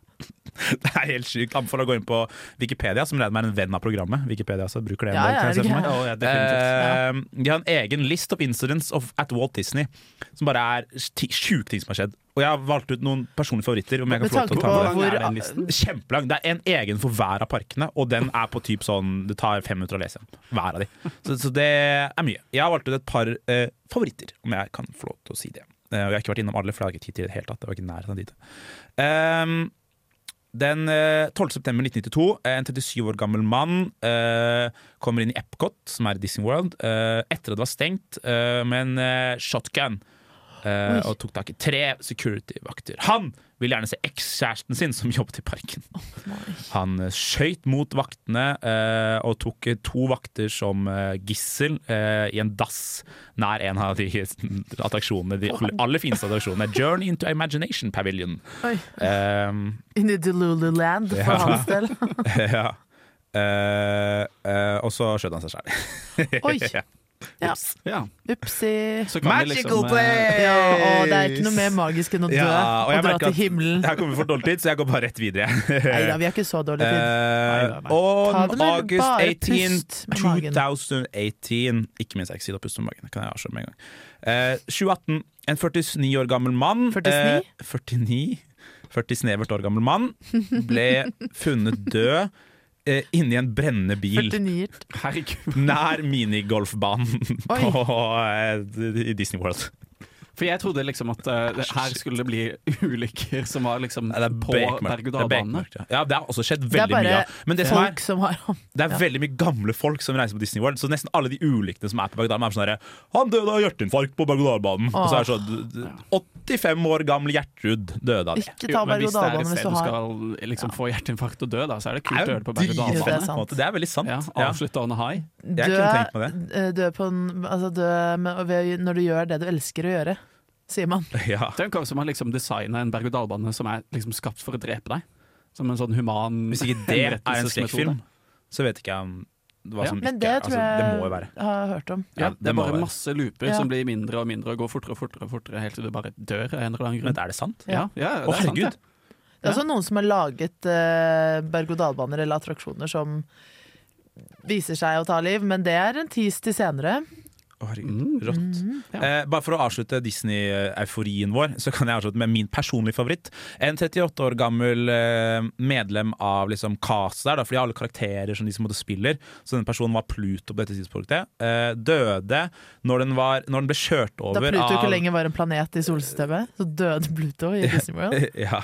[SPEAKER 9] Det er helt sjukt. Anbefaler å gå inn på Wikipedia, som regner med er en venn av programmet. Wikipedia så bruker det en
[SPEAKER 13] Ja,
[SPEAKER 9] del,
[SPEAKER 13] ja,
[SPEAKER 9] kan jeg se for meg.
[SPEAKER 13] ja, ja, definitivt.
[SPEAKER 9] Eh, De har en egen list of incidents of, at Walt Disney, som bare er ti- sjuke ting som har skjedd. Og jeg har valgt ut noen personlige favoritter. Om jeg kan
[SPEAKER 7] Med
[SPEAKER 9] få lov til
[SPEAKER 7] tanke
[SPEAKER 9] å ta
[SPEAKER 7] på
[SPEAKER 9] med
[SPEAKER 7] hvor-
[SPEAKER 9] det. Er den listen? Kjempelang. Det er en egen for hver av parkene, og den er på typ sånn Det tar fem minutter å lese den. Hver av de. Så, så det er mye. Jeg har valgt ut et par eh, favoritter, om jeg kan få lov til å si det. Eh, og jeg har ikke vært innom alle, for jeg har ikke tid til det i det hele tatt. Jeg var ikke i nærheten av dit. Ehm, den eh, 12. september 1992, eh, en 37 år gammel mann eh, kommer inn i Epcot, som er i Disney World, eh, etter at det var stengt, eh, med en eh, shotgun. eh,
[SPEAKER 13] Oi.
[SPEAKER 9] og tok tak i tre security-vakter. Han vil gjerne se ekskjæresten sin som jobbet i parken. Han eh, skøyt mot vaktene eh, og tok eh, to vakter som eh, gissel eh, i en dass nær en av de attraksjonene, de aller, aller fineste attraksjonene, Journey into Imagination Pavilion.
[SPEAKER 7] Oi.
[SPEAKER 9] Um,
[SPEAKER 7] In the Delululand, for
[SPEAKER 9] Ja.
[SPEAKER 7] hans del.
[SPEAKER 9] ja. Eh, eh, og så skjøt han seg sjøl.
[SPEAKER 7] Oi. Ja. Upsi.
[SPEAKER 8] liksom, eh,
[SPEAKER 7] Ja, og det er ikke noe mer magisk enn å dø og, dra til himmelen.
[SPEAKER 9] Jeg kommer for dårlig tid, så jeg går bare rett videre.
[SPEAKER 7] Neida, vi har ikke så dårlig tid.
[SPEAKER 9] Eh,
[SPEAKER 7] Neida, nei. Ta det
[SPEAKER 9] On
[SPEAKER 7] med
[SPEAKER 9] August
[SPEAKER 7] bare
[SPEAKER 9] 18,
[SPEAKER 7] pust med magen.
[SPEAKER 9] 2018 Ikke minst jeg ikke sier å puste med magen. Det kan jeg avsløre med en gang. Eh, 2018. En 49 år gammel mann
[SPEAKER 13] 49?
[SPEAKER 9] eh, 49 40 snevert år gammel mann ble funnet død eh, inni en brennende bil.
[SPEAKER 7] 49-ert.
[SPEAKER 9] Nær minigolfbanen på, eh, i Disney World.
[SPEAKER 8] For jeg trodde liksom at eh, det- her skulle det bli ulykker som var liksom på
[SPEAKER 9] Bekmørkt. Det er
[SPEAKER 8] berg-og-dal-bane.
[SPEAKER 9] bekmørkt, ja. ja, det har også skjedd
[SPEAKER 7] Det er
[SPEAKER 9] veldig mye
[SPEAKER 7] bare
[SPEAKER 9] av. Men det som er,
[SPEAKER 7] folk som har
[SPEAKER 9] det er
[SPEAKER 7] Ja.
[SPEAKER 9] veldig mye gamle folk som reiser på Disney World, så nesten alle de ulykkene som er på Bagdad, er sånn herre Han døde av hjerteinfarkt på Bagdad-banen. Og så er det sånn d- d- 85 år gamle Gertrud døde av det.
[SPEAKER 7] Ikke ta
[SPEAKER 8] Jo, men hvis det er et
[SPEAKER 7] berg-og-dal-bane hvis
[SPEAKER 8] sted
[SPEAKER 7] du
[SPEAKER 8] du
[SPEAKER 7] har-
[SPEAKER 8] skal liksom få hjerteinfarkt og dø, da, så er det kult å
[SPEAKER 9] Det er jo
[SPEAKER 8] gjøre det på berg-og-dal-bane.
[SPEAKER 9] dritfett, på en måte. Det er veldig sant.
[SPEAKER 8] Ja,
[SPEAKER 9] Ja.
[SPEAKER 8] Avslutte on a high.
[SPEAKER 7] eh, Dø på en altså dø med, og ved, Når du gjør det du elsker å gjøre, sier man.
[SPEAKER 8] Tenk om som har liksom designa en berg-og-dal-bane som er liksom skapt for å drepe deg. Som en sånn human
[SPEAKER 9] Hvis ikke det er en
[SPEAKER 8] henrettelsesmetode.
[SPEAKER 9] skrekkfilm, så vet ikke jeg om hva
[SPEAKER 8] Ja.
[SPEAKER 9] som
[SPEAKER 7] Men
[SPEAKER 9] ikke
[SPEAKER 7] det
[SPEAKER 9] er
[SPEAKER 7] tror
[SPEAKER 9] altså,
[SPEAKER 7] jeg
[SPEAKER 9] Det må jo være.
[SPEAKER 7] har hørt om.
[SPEAKER 8] Ja, det,
[SPEAKER 9] det
[SPEAKER 8] er
[SPEAKER 9] må
[SPEAKER 8] bare
[SPEAKER 9] være.
[SPEAKER 8] masse looper
[SPEAKER 7] Ja.
[SPEAKER 8] som blir mindre og mindre og går fortere og fortere, og fortere helt til du bare dør av en eller annen grunn.
[SPEAKER 9] Men er det sant?
[SPEAKER 8] Ja, ja,
[SPEAKER 9] Å,
[SPEAKER 8] det er sant,
[SPEAKER 9] herregud.
[SPEAKER 8] det.
[SPEAKER 7] Det er også noen som har laget eh, berg-og-dal-baner eller attraksjoner som viser seg å ta liv, men det er en tease til senere.
[SPEAKER 9] Å,
[SPEAKER 8] Mm.
[SPEAKER 9] herregud, rått.
[SPEAKER 7] Mhm,
[SPEAKER 9] Eh, bare for å avslutte Disney-euforien vår, så kan jeg avslutte med min personlige favoritt. En 38 år gammel eh, medlem av liksom castet der, da, for de har alle karakterer som de som måtte spiller. Så den personen var Pluto på dette tidspunktet. Eh, døde når den, var, når den ble kjørt
[SPEAKER 7] Da
[SPEAKER 9] over
[SPEAKER 7] Pluto ikke
[SPEAKER 9] av
[SPEAKER 7] lenger var en planet i solsystemet, så døde Pluto i Disney World.
[SPEAKER 9] Ja.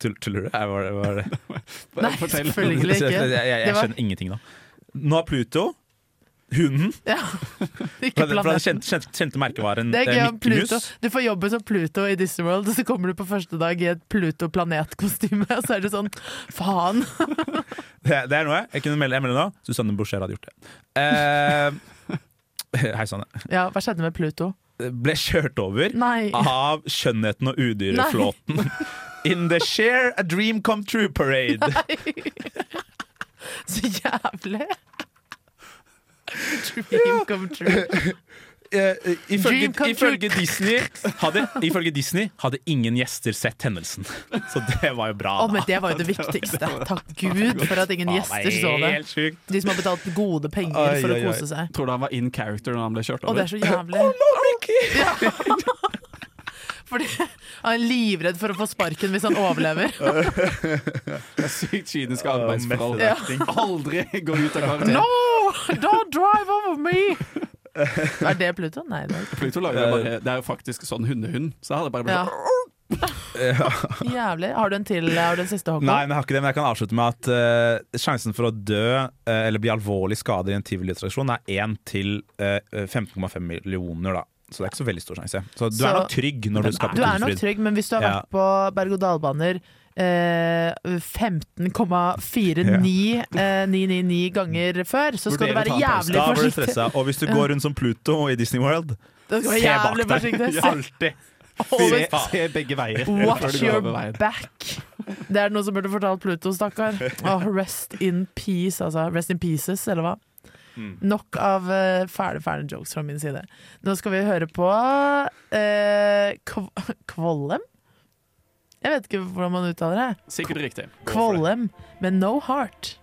[SPEAKER 9] Tull- Tuller du? Jeg var, var det
[SPEAKER 7] Nei, selvfølgelig ikke.
[SPEAKER 9] Jeg, jeg, jeg,
[SPEAKER 7] Det var-
[SPEAKER 9] skjønner ingenting nå.
[SPEAKER 14] Nå har Pluto Hunden.
[SPEAKER 7] Ikke
[SPEAKER 14] Fra den, fra den
[SPEAKER 7] planeten.
[SPEAKER 14] kjente, kjente, kjente merkevaren
[SPEAKER 7] Det er gøy
[SPEAKER 14] eh,
[SPEAKER 7] om
[SPEAKER 14] Mickey
[SPEAKER 7] Pluto.
[SPEAKER 14] Mus.
[SPEAKER 7] Du får jobben som Pluto i Disneyworld, og så kommer du på første dag i et Pluto-planetkostyme, og så er det sånn faen.
[SPEAKER 14] Det, det er noe jeg kunne melde, jeg melder nå. Susanne Boucher hadde gjort det. Eh, hei, Sanne.
[SPEAKER 7] Ja, hva skjedde med Pluto?
[SPEAKER 14] Ble kjørt over
[SPEAKER 7] Nei.
[SPEAKER 9] Ah.
[SPEAKER 14] av skjønnheten og udyreflåten. In the share a dream come true parade.
[SPEAKER 7] Så jævlig! Dream come true.
[SPEAKER 14] Eh, eh, Ifølge,
[SPEAKER 7] Dream come true.
[SPEAKER 14] ifølge, Disney hadde, ifølge Disney hadde ingen gjester sett hendelsen. Så det var jo bra.
[SPEAKER 7] Å,
[SPEAKER 14] da.
[SPEAKER 7] men det var jo det viktigste. Takk Gud for at ingen
[SPEAKER 14] Faen,
[SPEAKER 7] gjester så det.
[SPEAKER 14] Helt sjukt.
[SPEAKER 7] De som har betalt gode penger for å kose seg.
[SPEAKER 8] Tror du han var in character når han ble kjørt
[SPEAKER 7] Å,
[SPEAKER 8] over?
[SPEAKER 7] det er så jævlig. Ja. Fordi han er livredd for å få sparken hvis han overlever.
[SPEAKER 8] Det er Sykt kyniske arbeidsforhold.
[SPEAKER 7] Ja.
[SPEAKER 8] Aldri gå ut av karakter.
[SPEAKER 7] No! Don't drive over me! Er det Pluto? Nei, det er ikke
[SPEAKER 8] Pluto lager
[SPEAKER 9] Eh.
[SPEAKER 8] jo bare, det er jo faktisk sånn hundehund, så jeg hadde bare blitt
[SPEAKER 7] ja. Jævlig. Har du en til? Har du en siste Håkon?
[SPEAKER 14] Nei, men jeg har ikke det, men jeg kan avslutte med at eh, sjansen for å dø eh, eller bli alvorlig skadet i en tivoliattraksjon er 1 til eh, 15,5 millioner, da. Så det er ikke så veldig stor sjanse. Så du
[SPEAKER 7] Så-
[SPEAKER 14] er nok trygg når du skal
[SPEAKER 7] Du er nok trygg, men hvis du har
[SPEAKER 14] Ja.
[SPEAKER 7] vært på berg-og-dal-baner eh, 15,499 eh, 999 ganger før, så skal du være jævlig
[SPEAKER 14] Da blir du
[SPEAKER 7] forsiktig.
[SPEAKER 14] stressa. Og hvis du går rundt som Pluto i Disney World,
[SPEAKER 7] Da skal du være
[SPEAKER 14] se
[SPEAKER 7] jævlig
[SPEAKER 14] bak deg.
[SPEAKER 7] forsiktig.
[SPEAKER 14] Alltid.
[SPEAKER 7] Always
[SPEAKER 14] Se- Se begge veier. før
[SPEAKER 7] Watch
[SPEAKER 14] du går
[SPEAKER 7] your
[SPEAKER 14] over veien.
[SPEAKER 7] back. Det er noe som burde fortalt Pluto, stakkar. Åh, rest in peace, altså. Rest in pieces, eller hva? Nok av eh, fæle, fæle jokes fra min side. Nå skal vi høre på eh, Kv Kvollem? Jeg vet ikke hvordan man uttaler det.
[SPEAKER 8] Sikkert riktig.
[SPEAKER 7] Kvollem med No Heart.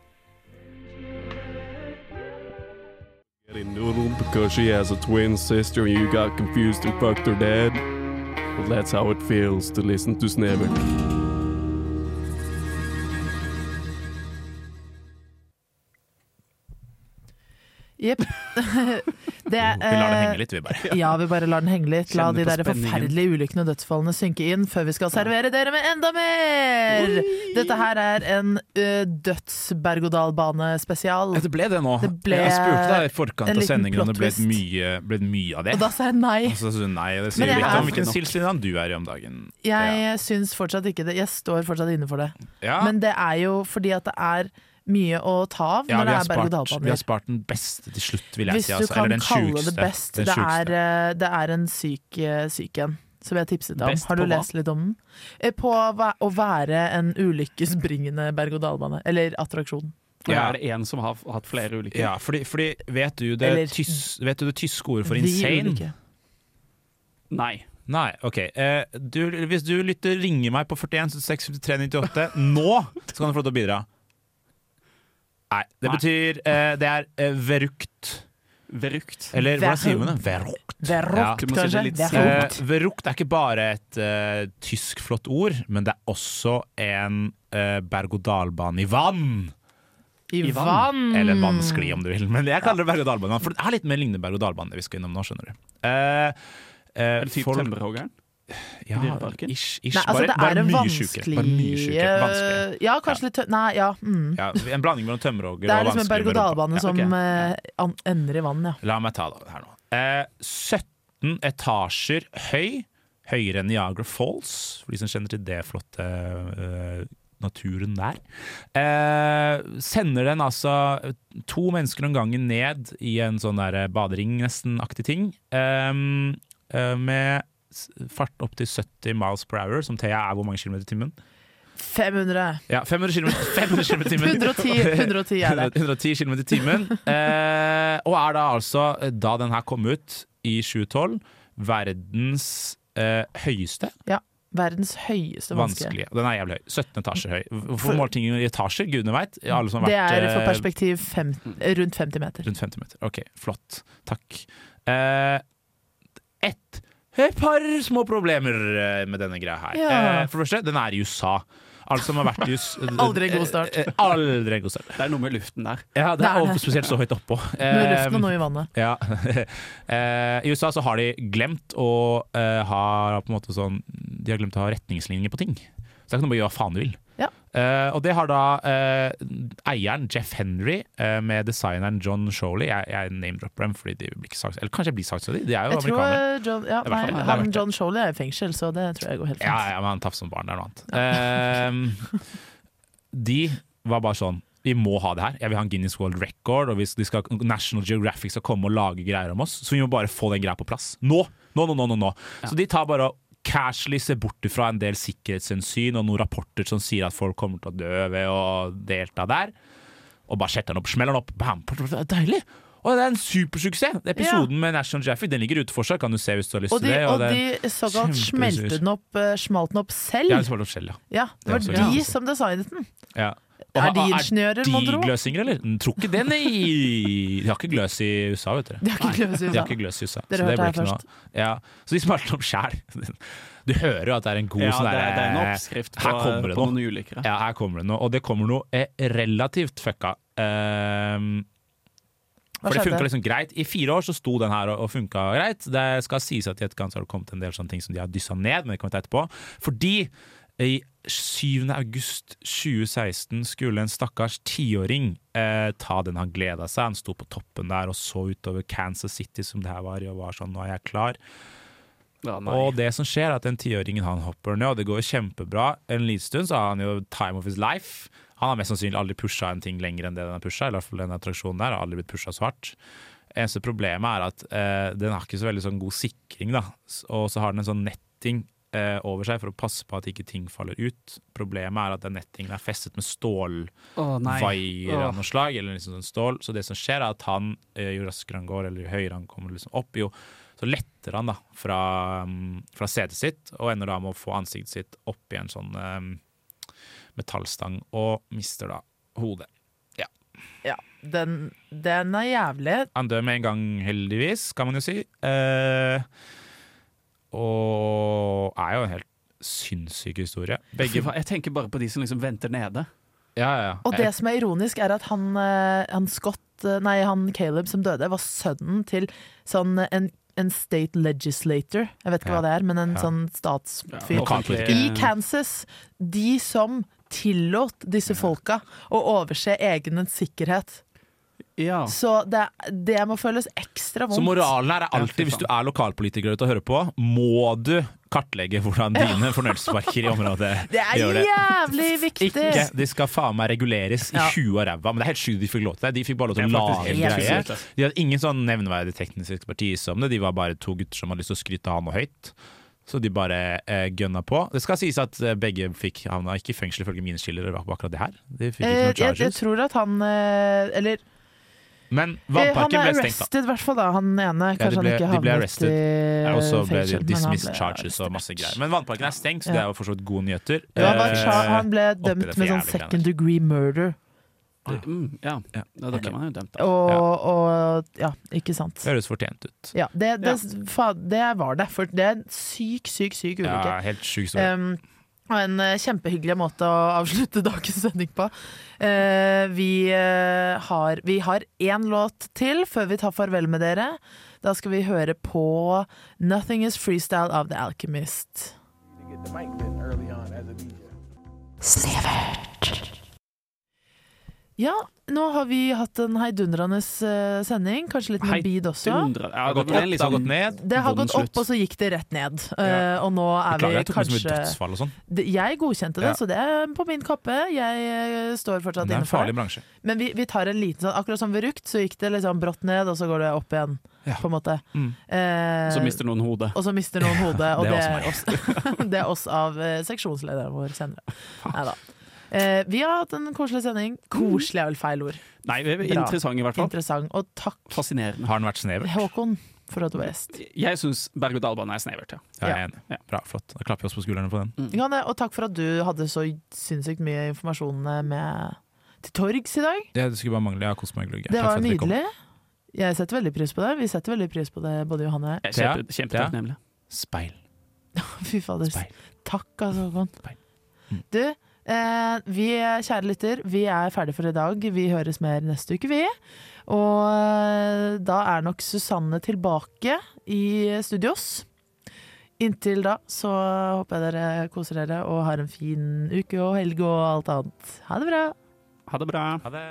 [SPEAKER 11] Getting noodled because she has a twin sister and you got confused and fucked her dad. Well, that's how it feels to listen to Snevert.
[SPEAKER 7] Jepp. Det,
[SPEAKER 9] Vi lar
[SPEAKER 7] eh,
[SPEAKER 9] det henge litt, vi bare.
[SPEAKER 7] Ja, vi bare lar den henge litt. La de
[SPEAKER 9] Kjenner på
[SPEAKER 7] der
[SPEAKER 9] spenningen.
[SPEAKER 7] forferdelige ulykkene og dødsfallene synke inn før vi skal servere dere med enda mer! Dette her er en ø, døds-berg-og-dal-bane-spesial.
[SPEAKER 9] Ja, det ble det nå.
[SPEAKER 7] Det ble
[SPEAKER 9] jeg spurte deg i
[SPEAKER 7] en
[SPEAKER 9] forkant av
[SPEAKER 7] liten
[SPEAKER 9] sendingen om det ble
[SPEAKER 7] plot twist.
[SPEAKER 9] mye, ble mye av det.
[SPEAKER 7] Og da sa jeg nei.
[SPEAKER 9] Og så sa du nei, og det
[SPEAKER 7] Men
[SPEAKER 9] sier
[SPEAKER 7] jeg
[SPEAKER 9] litt
[SPEAKER 7] er-
[SPEAKER 9] om hvilken silsinan du er i om dagen.
[SPEAKER 7] Jeg syns fortsatt ikke det. Jeg står fortsatt inne for det.
[SPEAKER 9] Ja.
[SPEAKER 7] Men det er jo fordi at det er mye å ta av
[SPEAKER 9] Ja,
[SPEAKER 7] når det er
[SPEAKER 9] vi har, spart, vi har
[SPEAKER 7] berg-og-dal-baner.
[SPEAKER 9] spart den beste til slutt, vil jeg
[SPEAKER 7] Hvis
[SPEAKER 9] si.
[SPEAKER 7] du
[SPEAKER 9] Altså.
[SPEAKER 7] kan
[SPEAKER 9] Eller den
[SPEAKER 7] kalle
[SPEAKER 9] sjukeste.
[SPEAKER 7] det best,
[SPEAKER 9] Den
[SPEAKER 7] det
[SPEAKER 9] sjukeste.
[SPEAKER 7] er, ø, det er en syk, ø, syk en. Som jeg tipset deg om.
[SPEAKER 9] Best
[SPEAKER 7] Har du
[SPEAKER 9] på hva?
[SPEAKER 7] lest litt om den? Eh, På hva- å være en ulykkesbringende berg-og-dal-bane. Eller attraksjon.
[SPEAKER 8] Ja. Er det en som har hatt flere
[SPEAKER 7] eh,
[SPEAKER 8] ulykker?
[SPEAKER 9] Ja, fordi, fordi vet, du det
[SPEAKER 8] Eller-
[SPEAKER 9] tys, vet du det tyske ordet for
[SPEAKER 8] De
[SPEAKER 9] insane?
[SPEAKER 8] ulike. Nei.
[SPEAKER 9] Nei, ok. Eh, du, hvis du lytter, ringer meg på 41 76 53 98 nå, så kan du få lov til å bidra. Nei, det
[SPEAKER 14] Nei.
[SPEAKER 9] betyr eh, Det er eh, verukt.
[SPEAKER 8] Verukt.
[SPEAKER 9] Eller hvordan sier man det? Verukt.
[SPEAKER 7] Verukt,
[SPEAKER 9] Ja.
[SPEAKER 7] Du må si det kanskje? litt
[SPEAKER 9] Eh,
[SPEAKER 7] Verukt.
[SPEAKER 9] verukt er ikke bare et eh, tysk flott ord, men det er også en eh, berg-og-dal-bane i vann. eh,
[SPEAKER 7] I I vann? vann.
[SPEAKER 9] Eller en vannskli, om du vil. Men jeg kaller det berg-og-dal-bane. For det er litt mer lignende berg-og-dal-bane vi skal innom nå, skjønner du. Eh, eh,
[SPEAKER 8] Er det typ
[SPEAKER 9] folk-
[SPEAKER 8] Tømmerhoggeren?
[SPEAKER 9] Ja,
[SPEAKER 8] Dyreparken?
[SPEAKER 9] ish, ish.
[SPEAKER 7] Nei, altså,
[SPEAKER 9] bare,
[SPEAKER 7] det er
[SPEAKER 9] bare
[SPEAKER 7] en
[SPEAKER 9] mye
[SPEAKER 7] vanskelig
[SPEAKER 9] sjukere. Bare mye sjukere. Vanskelig.
[SPEAKER 7] eh, Ja, kanskje litt tø- Nei, ja. Mm.
[SPEAKER 9] Ja, en blanding mellom tømmerhogger
[SPEAKER 7] Det er
[SPEAKER 9] og
[SPEAKER 7] liksom en
[SPEAKER 9] vanskelig. med rumpa.
[SPEAKER 7] berg-og-dal-bane
[SPEAKER 9] Ja,
[SPEAKER 7] som
[SPEAKER 9] ok.
[SPEAKER 7] eh, an- ender i vann, ja.
[SPEAKER 9] La meg ta det her nå. Eh, 17 etasjer høy, høyere enn Niagara Falls, for de som kjenner til det flotte eh, naturen der. Eh, sender den altså to mennesker om gangen ned i en sånn der badering nesten-aktig ting, ehm, eh, med s- fart opp til 70 miles per hour, som Thea er hvor mange kilometer i timen?
[SPEAKER 7] 500.
[SPEAKER 9] Ja, 500 km, 500 km i timen.
[SPEAKER 7] 110, 110 er det.
[SPEAKER 9] 110 km i timen. Eh, og er da altså, da den her kom ut i 2012, verdens eh, høyeste
[SPEAKER 7] ja. Verdens høyeste vanskelig.
[SPEAKER 9] vanskelige. Den er jævlig høy. 17 etasjer høy.
[SPEAKER 7] For-
[SPEAKER 9] Hvorfor måler ting i etasjer? Gudene veit. Alle som har
[SPEAKER 7] Det
[SPEAKER 9] vært
[SPEAKER 7] er for
[SPEAKER 9] eh,
[SPEAKER 7] perspektiv fem, rundt 50 meter.
[SPEAKER 9] Rundt 50 meter. Ok, flott. Takk. Eh, ett et par små problemer eh, med denne greia her.
[SPEAKER 7] Ja.
[SPEAKER 9] Eh, for det første, den er i USA. Alle som har vært i US
[SPEAKER 7] Aldri en god start.
[SPEAKER 9] Eh, eh, Aldri en god start.
[SPEAKER 8] Det er noe med luften der.
[SPEAKER 9] Ja, det
[SPEAKER 7] Det
[SPEAKER 9] er
[SPEAKER 7] er
[SPEAKER 9] og
[SPEAKER 7] det.
[SPEAKER 9] spesielt så høyt oppå.
[SPEAKER 7] Nå i luften og nå i vannet.
[SPEAKER 9] Ja. Eh, I USA så har de glemt å eh, ha på en måte sånn De har glemt å ha retningslinjer på ting. Så det er ikke noe med å gjøre hva faen du vil.
[SPEAKER 7] Ja.
[SPEAKER 9] Eh, og det har da eh, eieren Jeff Henry eh, med designeren John Sholey. Jeg, jeg name-dropper dem, fordi de blir ikke saks eller kanskje jeg blir saksøkt. De er jo
[SPEAKER 7] Jeg tror
[SPEAKER 9] amerikanere.
[SPEAKER 7] eh, John, ja,
[SPEAKER 9] Det er
[SPEAKER 7] nei,
[SPEAKER 9] hvertfall- det er
[SPEAKER 7] han
[SPEAKER 9] hvertfall.
[SPEAKER 7] John Sholey er i fengsel, så det tror jeg går helt fint.
[SPEAKER 9] Ja, ja, men han tafser som barn, det er noe annet. Ehm, de var bare sånn vi må ha det her. Jeg vil ha en Guinness World Record, og hvis de skal, National Geographic skal komme og lage greier om oss, så vi må bare få den greia på plass. Nå! Nå, nå, nå, nå. nå. Så de tar bare og casually ser bort ifra en del sikkerhetshensyn og noen rapporter som sier at folk kommer til å dø ved å delta der, og bare setter den opp, smeller den opp. Bam! Deilig! Og det er en supersuksess! Episoden med National Geographic den ligger ute fortsatt, kan du se hvis du har lyst
[SPEAKER 7] Og de,
[SPEAKER 9] til det.
[SPEAKER 7] og
[SPEAKER 9] det er en
[SPEAKER 7] de såkalt
[SPEAKER 9] kjempesuksess.
[SPEAKER 7] smelte den opp, eh, smalt den opp selv.
[SPEAKER 9] Ja, det var Lorcella.
[SPEAKER 7] Ja, det var
[SPEAKER 9] Det er også
[SPEAKER 7] de
[SPEAKER 9] greit.
[SPEAKER 7] som designet den.
[SPEAKER 9] Ja.
[SPEAKER 7] Er de ingeniører,
[SPEAKER 9] mon
[SPEAKER 7] mon tro?
[SPEAKER 9] Er de gløsinger, eller? Mm, Tror ikke det, nei! De har ikke gløs i USA, vet dere.
[SPEAKER 7] De har ikke gløs i USA.
[SPEAKER 9] De har ikke gløs i USA.
[SPEAKER 7] Dere
[SPEAKER 9] så det
[SPEAKER 7] hørte
[SPEAKER 9] ble
[SPEAKER 7] her
[SPEAKER 9] ikke noe
[SPEAKER 7] først.
[SPEAKER 9] av. Ja. Så de smalte den opp sjæl. Du hører jo at det er en god
[SPEAKER 8] Ja,
[SPEAKER 9] sånn
[SPEAKER 8] det er-
[SPEAKER 9] der,
[SPEAKER 8] det er en oppskrift på-
[SPEAKER 9] Her kommer det
[SPEAKER 8] på
[SPEAKER 9] noe.
[SPEAKER 8] noen ulykker,
[SPEAKER 9] Ja, her kommer det noe. Og det kommer noe eh, relativt fucka. Ehm,
[SPEAKER 8] Hva
[SPEAKER 9] for det
[SPEAKER 8] skjedde?
[SPEAKER 9] funka liksom greit. I fire år så sto den her og, og funka greit. Det skal sies at i etterkant så har det kommet en del sånne ting som de har dyssa ned, men det kommer vi til etterpå. Fordi i 7. august 2016 skulle en stakkars tiåring eh, ta den han gleda seg. Han sto på toppen der og så utover Kansas City som det her var, og var sånn 'nå er jeg klar'. og det som skjer er at den tiåringen han hopper ned, og det går kjempebra. En liten stund så har han jo time of his life. Han har mest sannsynlig aldri pusha en ting lenger enn det den har pusha. Eller i hvert fall den attraksjonen der har aldri blitt pusha så hardt. Eneste problemet er at eh, den har ikke så veldig sånn god sikring, da. S- Og så har den en sånn netting eh, over seg for å passe på at ikke ting faller ut. Problemet er at den nettingen er festet
[SPEAKER 8] Å,
[SPEAKER 9] med
[SPEAKER 8] nei.
[SPEAKER 9] stålvaier
[SPEAKER 8] Åh.
[SPEAKER 9] av noe slag, eller liksom sånn stål. Så det som skjer er at han, eh, jo raskere han går, eller jo høyere han kommer liksom opp, jo så letter han da fra, mm, fra setet sitt, og ender da med å få ansiktet sitt opp i en sånn eh, metallstang, og mister da hodet. Ja.
[SPEAKER 7] Ja, den, den er jævlig.
[SPEAKER 9] Han dør med en gang, heldigvis, kan man jo si. Eh, og er jo en helt sinnssyk historie.
[SPEAKER 8] Fy faen, Jeg tenker bare på de som liksom venter nede.
[SPEAKER 9] Ja, ja, ja.
[SPEAKER 7] Og det som er ironisk, er at han, eh, han Scott eh, Nei, han Caleb som døde, var sønnen til sånn eh, en, en state legislator. Jeg vet ikke
[SPEAKER 9] Ja.
[SPEAKER 7] hva det er, men en
[SPEAKER 9] Ja.
[SPEAKER 7] sånn statsfyr.
[SPEAKER 9] Ja, lokalpolitiker.
[SPEAKER 7] I Kansas. De som tillot disse folka å overse egen sikkerhet. Så det, det må føles ekstra vondt.
[SPEAKER 9] Så moralen her er alltid, hvis du er lokalpolitiker ute og hører på, må du kartlegge hvordan dine fornøyelsesparker i området
[SPEAKER 7] Det er
[SPEAKER 9] gjør det.
[SPEAKER 7] jævlig viktig!
[SPEAKER 9] Ikke, de skal faen meg reguleres i
[SPEAKER 7] Ja.
[SPEAKER 9] 20 av ræva, men det er helt sjukt de fikk lov til det. De fikk bare lov til å
[SPEAKER 8] Det er faktisk
[SPEAKER 9] lage en
[SPEAKER 8] helt
[SPEAKER 9] greie.
[SPEAKER 8] sykt, ass.
[SPEAKER 9] De hadde ingen sånn nevneverdig teknisk ekspertise om det, de var bare to gutter som hadde lyst til å skryte av han og høyt. Så de bare eh, gønna på. Det skal sies at eh, begge fikk havna ikke i fengsel ifølge mine skiller på akkurat det her. De fikk ikke
[SPEAKER 7] Eh,
[SPEAKER 9] noen
[SPEAKER 7] jeg, jeg
[SPEAKER 9] charges.
[SPEAKER 7] tror at han eh, Eller
[SPEAKER 9] Men
[SPEAKER 7] Eh, Han
[SPEAKER 9] vannparken
[SPEAKER 7] er
[SPEAKER 9] ble stengt, da.
[SPEAKER 7] arrested, i hvert fall. da, Han ene.
[SPEAKER 9] Ja,
[SPEAKER 7] Kanskje
[SPEAKER 9] de ble,
[SPEAKER 7] han ikke
[SPEAKER 9] de ble
[SPEAKER 7] havnet
[SPEAKER 9] arrested.
[SPEAKER 7] i
[SPEAKER 9] Ja, og så ble
[SPEAKER 7] fengsel,
[SPEAKER 9] de
[SPEAKER 7] men han
[SPEAKER 9] dismissed
[SPEAKER 7] ble-
[SPEAKER 9] charges og masse greier. Men vannparken er stengt, så
[SPEAKER 7] Ja.
[SPEAKER 9] det er jo for så vidt gode nyheter.
[SPEAKER 7] Ja, han, var,
[SPEAKER 9] Eh,
[SPEAKER 7] cha- han ble
[SPEAKER 9] oppi det
[SPEAKER 7] dømt med sånn
[SPEAKER 9] jævlig greiene.
[SPEAKER 7] second degree murder.
[SPEAKER 8] Mm, ja. ja, da ble man jo dømt. da.
[SPEAKER 7] Og ja, og, ja ikke sant.
[SPEAKER 9] Det høres fortjent ut.
[SPEAKER 7] Ja, det, det, fa- det var det. For det er en syk, syk, syk ulykke.
[SPEAKER 9] Ja, helt sjuk historie.
[SPEAKER 7] Um, og en eh, kjempehyggelig måte å avslutte dagens sending på. Eh, vi, eh, har, vi har én låt til før vi tar farvel med dere. Da skal vi høre på 'Nothing Is Freestyle' av The Alchemist. Ja, nå har vi hatt en heidundrende eh, sending. Kanskje litt med bid også.
[SPEAKER 8] Heidundrende. Ja, det
[SPEAKER 9] har gått
[SPEAKER 8] ble
[SPEAKER 9] opp,
[SPEAKER 8] en litt
[SPEAKER 9] det har
[SPEAKER 8] sånn-
[SPEAKER 9] gått ned.
[SPEAKER 7] Det har
[SPEAKER 8] vond
[SPEAKER 7] gått
[SPEAKER 8] slutt.
[SPEAKER 7] opp, og så gikk det rett ned. Eh, og nå er
[SPEAKER 9] Beklager,
[SPEAKER 7] vi
[SPEAKER 9] jeg tok med som et
[SPEAKER 7] kanskje
[SPEAKER 9] dødsfall og sånn.
[SPEAKER 7] Det- Jeg godkjente det,
[SPEAKER 9] Ja.
[SPEAKER 7] så det er på min kappe. Jeg eh, står fortsatt
[SPEAKER 9] Det er en
[SPEAKER 7] inne for
[SPEAKER 9] farlig
[SPEAKER 7] det.
[SPEAKER 9] bransje.
[SPEAKER 7] Men vi, vi tar en liten sånn Akkurat som ved Rugt, så gikk det liksom brått ned, og så går det opp igjen, på en måte.
[SPEAKER 8] Mm.
[SPEAKER 7] Eh,
[SPEAKER 8] Så mister noen hodet.
[SPEAKER 7] og så mister noen hodet, og
[SPEAKER 8] Det
[SPEAKER 7] det,
[SPEAKER 8] er
[SPEAKER 7] er oss, det er oss av eh, seksjonslederen vår senere. Neida. Eh, vi har hatt en koselig sending. Koselig er vel feil ord.
[SPEAKER 8] Nei, det er
[SPEAKER 7] Bra.
[SPEAKER 8] interessant i hvert fall.
[SPEAKER 7] Interessant, og takk
[SPEAKER 8] Fascinerende.
[SPEAKER 9] Har den vært snever?
[SPEAKER 7] Håkon for at du var gjest.
[SPEAKER 8] Jeg syns berg-og-dal-bane er snevert, ja.
[SPEAKER 9] Ja, jeg er enig. Bra, flott. Da klapper vi oss på skuldrene på den.
[SPEAKER 8] Mm.
[SPEAKER 7] Ja, det- og takk for at du hadde så sinnssykt mye informasjon eh, med til torgs i dag.
[SPEAKER 9] Det skulle bare mangle. Jeg har kost meg glugg.
[SPEAKER 7] Det var nydelig. Jeg setter veldig pris på det. Vi setter veldig pris på det, både Johanne
[SPEAKER 8] Jeg er kjempe- kjempetakknemlig.
[SPEAKER 9] Speil.
[SPEAKER 7] Fy fader. Takk, altså, Håkon. Mm. Du, eh, vi kjære lytter, vi er ferdige for i dag. Vi høres mer neste uke, vi. Og eh, da er nok Susanne tilbake i studios. Inntil da så håper jeg dere koser dere og har en fin uke og helg og alt annet. Ha det bra!
[SPEAKER 8] Ha det bra.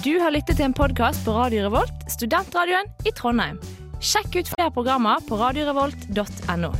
[SPEAKER 15] Du har lyttet til en podkast på Radio Revolt, studentradioen i Trondheim. Sjekk ut flere programmer på radiorevolt.no.